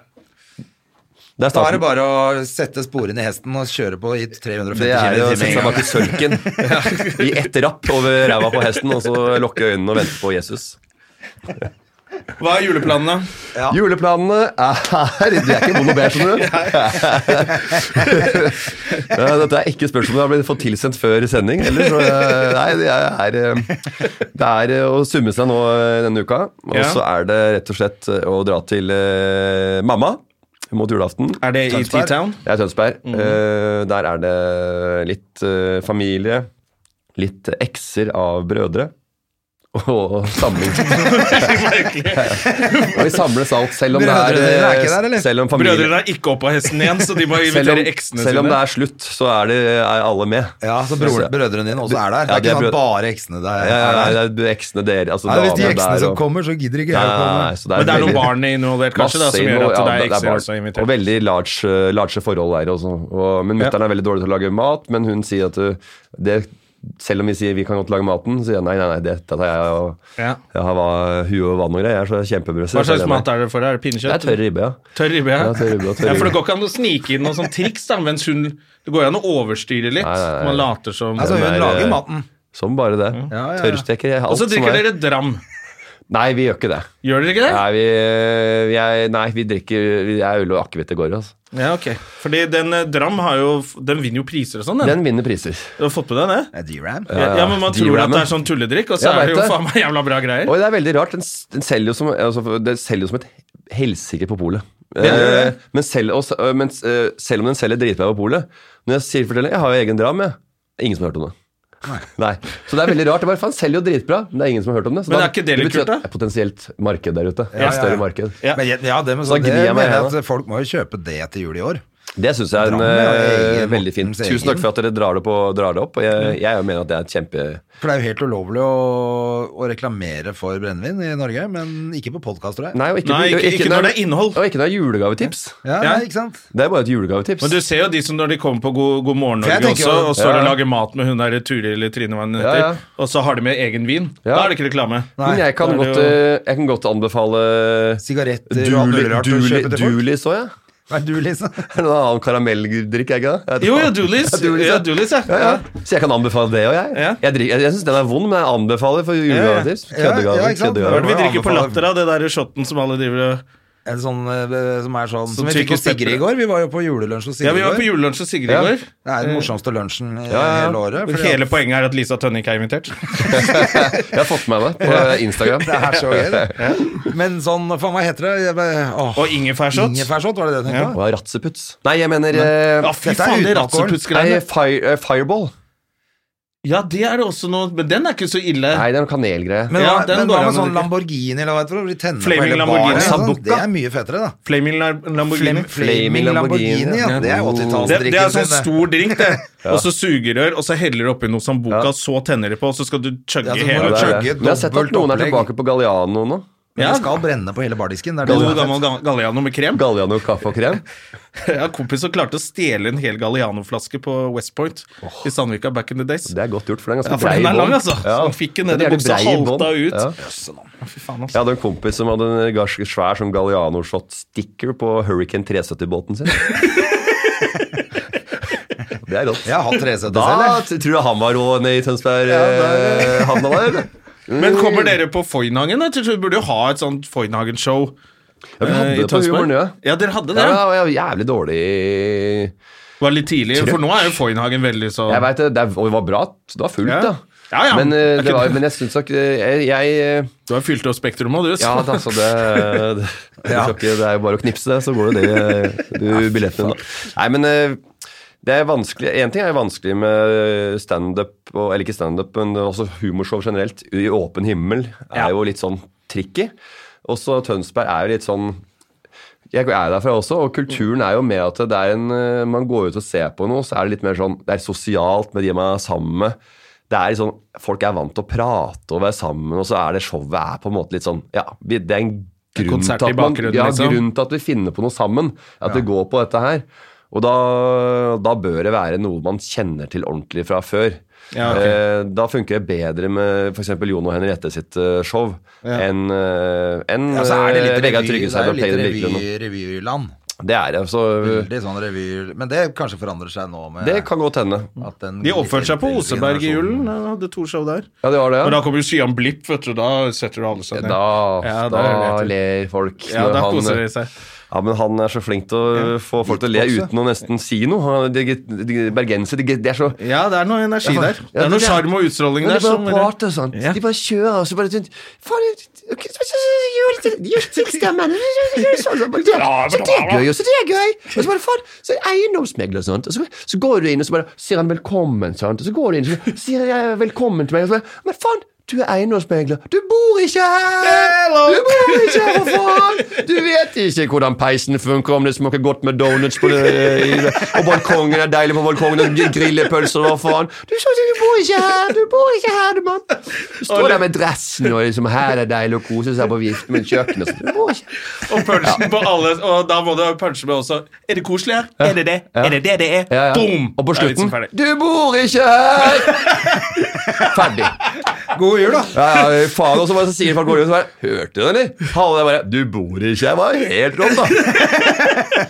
S3: Det er
S1: Da er det
S3: starten.
S1: bare å sette sporene i hesten og kjøre på i 350 km
S3: Det er jo å
S1: i
S3: sette seg
S1: timen.
S3: bak i sølken
S1: [LAUGHS]
S3: i ett rapp over ræva på hesten og så lukke øynene og vente på Jesus.
S2: [LAUGHS] Hva er juleplanene?
S3: Juleplanene er Du er ikke monobert, skjønner du. Ja, Dette er ikke spørsmål jeg har blitt fått tilsendt før sending. Eller, så, eh, nei, det er, eh, det er eh, å summe seg nå eh, denne uka. Og
S2: Ja.
S3: så er det rett og slett eh, å dra til eh, mamma mot julaften.
S2: Er det i
S1: Tønsberg?
S2: T-Town?
S3: Det er Tønsberg.
S1: Mhm.
S3: Eh, Der er det litt eh, familie, litt ekser av brødre. Og
S1: [LAUGHS]
S3: samling. og vi samles alt, selv om det
S1: Brødrene
S3: er,
S1: dine er
S3: eh,
S1: ikke der, eller?
S3: Selv om familie,
S2: Brødrene er ikke oppe av hesten igjen, så de
S3: [LAUGHS]
S2: må
S3: selv om,
S2: invitere eksene
S3: selv om det
S2: sine.
S3: er slutt, så er, det, er alle med.
S1: Ja, så broren, brødrene dine også er der.
S3: Ja,
S1: Det er
S3: de er
S1: ikke sånn
S3: brød-
S1: bare eksene der.
S3: Ja, ja,
S1: er der.
S3: nei, det er eksene dere altså
S1: Nei, hvis de
S3: damene
S1: eksene
S3: der,
S1: som
S3: og-
S1: kommer, så gidder ikke jeg
S3: Nei,
S1: å
S3: nei, nei,
S1: komme.
S3: så
S2: Men det er noen
S3: veldig-
S2: barn involvert, kanskje, da,
S3: Masse
S2: som gjør
S3: innhold,
S2: at det
S3: ja,
S2: er ekser
S3: barn.
S2: også
S3: Og
S2: invitert.
S3: veldig large, eh, large forhold der også. Og, men mutter'n er veldig dårlig til å lage mat, men hun sier at uh, det, selv om vi sier vi kan godt lage maten, så sier jeg nei, nei, nei, dette tar jeg og
S2: Ja.
S3: jeg har hva- hue og vann og greier. Jeg er så kjempebrøst.
S2: Hva slags mat er det for deg? Er
S3: Det er
S2: det pinnekjøtt?
S3: tørr ribbe, ja.
S2: Tørr ribbe, ja.
S3: Ja, tørr ribbe og tørr
S2: [LAUGHS] ja. For det
S3: ribbe.
S2: går ikke an å snike inn noen sånn triks, da, mens hun Det går jo an å overstyre litt.
S3: Nei, nei, nei.
S2: Man later som
S1: Altså,
S3: Den
S1: hun
S3: er, eh,
S1: lager maten.
S3: Som bare det.
S1: Ja, ja, ja.
S3: Tørrsteker jeg alt
S2: Og så
S3: som
S2: drikker
S3: er.
S2: dere dram.
S3: Nei, vi gjør ikke det.
S2: Gjør dere ikke det?
S3: Nei, vi, eh, jeg, nei, vi drikker vi- jeg er øl og akevitt det går i. Altså.
S2: Ja, ok. Fordi den eh, dram har jo Den vinner jo priser og sånn, den.
S3: Den vinner priser.
S2: Du har fått på deg det?
S1: Er det D-ram?
S2: Ja, ja, men man tror
S3: D-ramen.
S2: at det er sånn tulledrikk, og så
S3: Jeg
S2: er det
S3: vet
S2: jo
S3: det.
S2: faen meg jævla bra greier.
S3: Oi, det er veldig rart. Den, s- den selger jo som, altså, den selger jo som et helsike på polet.
S2: gjør
S3: Eh, men, selv, og, s- øh, men s- øh, selv om den selger dritbra på polet Når jeg sier forteller, jeg har jo egen dram, jeg. Ingen som har hørt om det. Nei. Så det er veldig rart. Det er bare, faen, selger jo dritbra, men det er ingen som har hørt om det. Så
S2: Men er ikke det litt
S3: betyr
S2: kult, da?
S3: at Det er potensielt marked der ute.
S1: ja,
S3: Et
S1: ja.
S3: større marked.
S2: Ja.
S1: Men, jeg- ja, det, men,
S3: Da
S1: så, det
S3: gnir jeg meg
S1: mener
S3: i
S1: jeg
S3: det.
S1: at folk må jo kjøpe det til jul i år.
S3: Det syns jeg er en,
S1: Dram er
S3: eh,
S1: egen
S3: veldig fint.
S1: måtens egen.
S3: Tusen takk for at dere drar det, på, drar det opp. og Jeg,
S2: Mm.
S3: jeg mener at det er et kjempe...
S1: For det er jo helt ulovlig å, å reklamere for brennevin i Norge, men ikke på podkast, tror jeg.
S3: Nei, og ikke,
S2: Nei, ikke- ikke når det er innhold.
S3: Og ikke når det er julegavetips.
S1: Ja,
S2: Ja.
S1: nei, ikke sant?
S3: Det er bare et julegavetips.
S2: Men du ser jo de som når de kommer på God, god morgen
S1: For jeg
S2: Norge
S1: tenker
S2: også,
S1: jo-
S2: og står
S3: Ja,
S2: og
S3: ja.
S2: lager mat med hun der Turid eller Trine hva hun heter,
S3: Ja, ja.
S2: og så har de med egen vin.
S3: Ja.
S2: Da er det ikke reklame.
S1: Nei.
S3: Men jeg kan,
S2: da er
S3: godt,
S2: det jo-
S3: eh, jeg kan godt anbefale eh,
S1: Sigaretter og alt
S3: Duli-
S1: mulig rart å
S3: Duli-
S1: kjøpe til folk.
S3: Dulis òg, ja.
S1: Nei, du, liksom.
S3: Er det noen annen karamelldrikk, er ikke det? Jeg vet
S2: Jo,
S3: ikke.
S2: ja, Doolies.
S3: Ja, Doolies,
S2: Ja,
S3: ja.
S2: Doolies, ja.
S3: Ja, ja. Så jeg kan anbefale det òg, jeg.
S2: Ja.
S3: Jeg, drikker- jeg, jeg syns den er vond, men jeg anbefaler for julegavetips.
S1: Ja, ja.
S3: Køddegaver,
S1: Ja, ja, ikke sant?
S2: Hva er
S3: køddegaver.
S2: det vi drikker på
S1: Anbefaler-
S2: latter av, det der shotten som alle driver og
S1: En sånn eh, som er sånn
S2: Som
S1: Som vi fikk hos
S2: tyrkisk
S1: Sigrid i går. Vi var jo på julelunsj hos Sigrid
S2: Ja,
S1: i
S2: vi var på
S1: går.
S2: julelunsj hos Sigrid i
S3: Ja.
S2: går.
S1: Det er den morsomste lunsjen i
S3: ja.
S1: hele året. fordi
S2: Hele
S1: at-
S2: poenget er at Lisa Tønning er invitert.
S3: Jeg har fått med meg det på
S1: [LAUGHS]
S3: Instagram.
S1: det er så gøy, det. Men sånn, faen, hva heter det? Jeg bare- åh,
S2: Og ingefærshot.
S1: Ingefærshot, var det det du tenkte på?
S3: Og ratseputz. Nei, jeg mener eh,
S2: Ja, fy
S1: Dette er
S2: faen, de
S1: uten alkohol.
S3: nei,
S2: ratseputsgreiene.
S3: fire, eh, Fireball.
S2: Ja, det er det også noe Men den er ikke så ille.
S3: Nei, det er en kanelgreie.
S1: Men,
S2: Ja,
S1: hva-
S2: den
S1: men
S2: går
S1: hva
S2: an
S1: med
S2: å
S1: sånn
S2: drikke.
S1: Lamborghini eller hva heter det? hvor de tenner på
S2: Flaming
S1: hele
S2: Lamborghini,
S1: baren, sånn.
S3: Sambuca.
S1: Det er mye fetere, da.
S2: Flaming Lam- Lamborghini.
S3: Flaming Lamborghini,
S1: ja. Det er
S2: Det, det er sånn
S1: 80-tallsdrikken sin.
S2: stor drink, det. Og så sugerør, og så heller du oppi noe Sambuca,
S3: Ja.
S2: så tenner de på, og så skal du chugge
S1: Ja, så må
S3: Ja,
S2: hele
S1: du
S3: det er
S1: chugge.
S3: det. Men jeg har sett at
S1: dobbelt
S3: noen er
S1: opplegg.
S3: tilbake på Galliano nå.
S1: Men
S2: Ja.
S1: det skal brenne på hele bardisken. Det er det
S2: God
S1: som er
S2: gammel ga- Galliano med krem.
S3: Galliano kaffe og krem.
S2: Jeg har kompis som klarte å stjele en hel Galliano-flaske på West Point i Sandvika back in the days.
S3: Det er godt gjort, for den er
S2: Ja,
S3: ganske
S2: for den
S3: brei
S2: er lang,
S3: bånd.
S2: altså. Så han fikk den ned
S3: Det er
S2: i
S3: jævlig
S2: buksa,
S3: brei bånd.
S2: halta ut.
S3: Ja.
S2: Fy faen, altså.
S3: Jeg hadde en kompis som hadde en gars- svær sånn Galliano-shot-sticker på Hurricane 370-båten sin. [LAUGHS] det er rått.
S1: Jeg har hatt 370
S3: Da
S1: selv, jeg.
S3: t- tror jeg han var rå nede i Tønsberg eh, havna der. eller?
S2: Men kommer dere på Foynhagen? Jeg tror vi burde jo ha et sånt Foynhagen-show.
S3: Ja, vi hadde
S2: eh, i
S3: det på
S2: Tønsberg.
S3: humoren, ja.
S2: Ja, dere hadde det?
S3: Ja,
S2: Ja.
S3: jeg var jævlig dårlig
S2: Det var litt tidlig, for nå er jo Foynhagen veldig så
S3: Jeg vet det, det, er- og det var bra. Det var fullt,
S2: Ja.
S3: da.
S2: Ja, ja.
S3: Men, eh,
S2: Det er
S3: det
S2: ikke-
S3: var, men jeg syns nok eh, Jeg, jeg
S2: Du har fylt opp Spektrum òg, du. så-
S3: Ja, det, altså, det, det,
S2: [LAUGHS]
S3: det, skal ikke, det er jo bare å knipse det, så går jo det du billetten din, da. Nei, men eh, Det er vanskelig, En ting er vanskelig med standup, og- eller ikke standup, men også humorshow generelt. I åpen himmel er
S2: Ja.
S3: jo litt sånn tricky. Også Tønsberg er jo litt sånn Jeg er derfra også, og kulturen er jo med at det er en eh, Man går ut og ser på noe, så er det litt mer sånn Det er sosialt med de man er sammen med. Det er litt sånn, Folk er vant til å prate og være sammen, og så er det showet er på en måte litt sånn Ja, vi- det er en grunn
S2: konsert
S3: til
S2: i
S3: at man
S2: bakgrunnen,
S3: Ja,
S2: liksom.
S3: grunn til at vi finner på noe sammen. At vi går på dette her. Og da, da bør det være noe man kjenner til ordentlig fra før.
S2: Ja, ok.
S3: Eh, Da funker det bedre med f.eks. Jon og Henriette sitt eh, show enn eh, enn,
S1: Ja, så er det
S3: eh, Vegard
S1: litt revy, det er
S3: Tryggeseid
S1: jo
S3: og
S1: litt
S3: Peder
S1: revy,
S3: Birkeland.
S1: revyland.
S3: Det er det. Så eh,
S1: Veldig sånn revy... Men det kanskje forandrer seg nå med
S3: det kan godt hende.
S1: at den
S2: De oppførte seg på
S1: eldre
S2: Oseberg i julen.
S1: generasjonen-
S2: Jeg hadde to show der.
S3: Ja, det var det.
S2: Men da
S3: Ja.
S2: kommer jo Skyan Blipp, vet du. Da setter du alle seg ned.
S3: Da,
S2: Ja,
S3: da
S2: da vet du.
S3: ler folk.
S2: Ja,
S3: når
S2: da
S3: han- eh,
S2: koser de seg.
S3: Ja, men han er så flink til å få folk til å le
S1: Beatboxe.
S3: uten å nesten si noe. Han- De, de, de, bergensere, de, de er så
S2: Ja, det er noe energi
S3: Ja,
S2: der.
S3: for-
S2: Det
S3: ja,
S2: er
S3: det-
S2: noe sjarm og utstråling
S3: Men
S2: der.
S3: de bare
S2: som-
S3: prater og sånn.
S2: Ja.
S3: De bare kjører og så bare sånn Faen, ok, så- så- så- gjør litt- gjør ting stemmen Så så- bare- så det er gøy, og så det er gøy. Og så bare faen, så er det eiendomsmegler og sånt. Og så, så går du inn, og så bare sier han velkommen, sant. Og så går du inn, og så sier jeg velkommen til meg. Og så bare, men faen, du er eiendomsmegler. Du bor ikke her!
S2: Hello!
S3: Du bor ikke her, for faen! Du vet ikke hvordan peisen funker, om det smaker godt med donuts på det, i, og balkongen er deilig på balkongen, og grillepølser og hva faen. Du, så, du bor ikke her, du bor ikke her, du mann. Du står der med dressen og liksom her er deilig å kose seg på vift med kjøkkenet. Så, du bor ikke her.
S2: Og punchen på alle Og da må du punche med også Er det koselig her? Er det det? Er det det det er?
S3: Ja, ja.
S2: Boom!
S3: Og på
S2: Da er vi
S3: slutten
S2: liksom ferdig.
S3: Du bor ikke her! Ferdig.
S1: God jul, da!
S3: Ja, ja, faen, og så bare så sier folk går ut og så bare Hørte du det, eller? Halve der bare Du bor ikke her, var helt rått, da.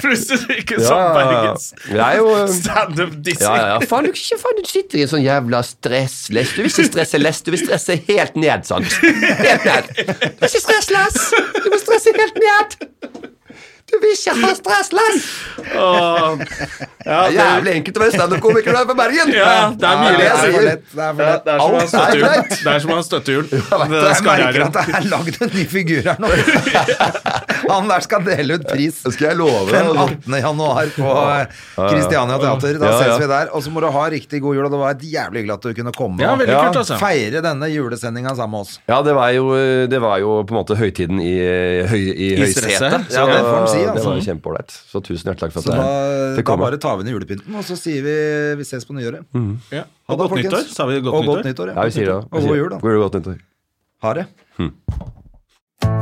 S2: Plutselig ikke
S3: Ja,
S2: [LAUGHS] som
S3: ja, ja.
S2: Bergens.
S3: Det er jo, eh,
S2: Standup-dissing.
S3: Ja, ja, ja. [LAUGHS] Faen, du, ikke, faen, du sitter i en sånn jævla stressless. Du vil ikke stresse less, du vil stresse helt ned, sant? Helt ned. Du vil ikke stresse less, du vil stresse helt ned. Du vil ikke ha stress less.
S2: Åh. Ja,
S3: Det er
S2: det,
S3: jævlig enkelt å være standup-komiker når du er fra Bergen.
S2: ja, det er mye
S1: det er
S2: lesing.
S1: for lett. Det er for
S2: Ja,
S1: lett.
S2: det er som å
S3: Alt er
S2: ha støttehjul.
S3: greit.
S2: Det er som å ha støttehjul. Det
S1: Jeg
S2: skal
S1: merker
S2: jeg
S1: at det er lagd en ny figur her
S2: [LAUGHS]
S1: nå. Han der skal dele ut pris
S3: Skal jeg love
S1: den
S3: altså.
S1: 18. januar på eh, Christiania Teater. Da
S3: Ja, ja.
S1: ses vi der. Og så må du ha riktig god jul, og det var jævlig hyggelig at du kunne komme.
S2: Ja, veldig
S3: Ja.
S2: kult, altså.
S1: Feire denne julesendinga sammen med oss.
S3: Ja, det var, jo, det var jo på en måte høytiden i, høy, i
S2: I
S3: høysetet. Så
S2: stresset.
S1: Ja, det får en si, altså.
S3: det var jo kjempeålreit. Så tusen hjertelig takk for
S1: Så da,
S3: at jeg
S1: da
S3: fikk komme.
S1: bare tar vi ned julepynten, og så sier vi vi ses på nyåret. Ha
S2: Ja. Mm. Og
S1: det,
S2: godt
S1: folkens.
S2: nyttår. Sa vi
S1: og
S2: godt nyttår?
S1: nyttår
S3: Ja, vi sier det.
S1: Og god jul, da.
S3: God jul, godt nyttår.
S1: Ha det.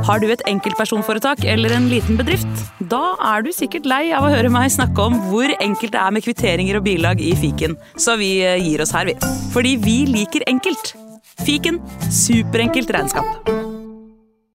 S4: Har du et enkeltpersonforetak eller en liten bedrift? Da er du sikkert lei av å høre meg snakke om hvor enkelt det er med kvitteringer og bilag i fiken, så vi eh, gir oss her, vi. Fordi vi liker enkelt. Fiken superenkelt regnskap.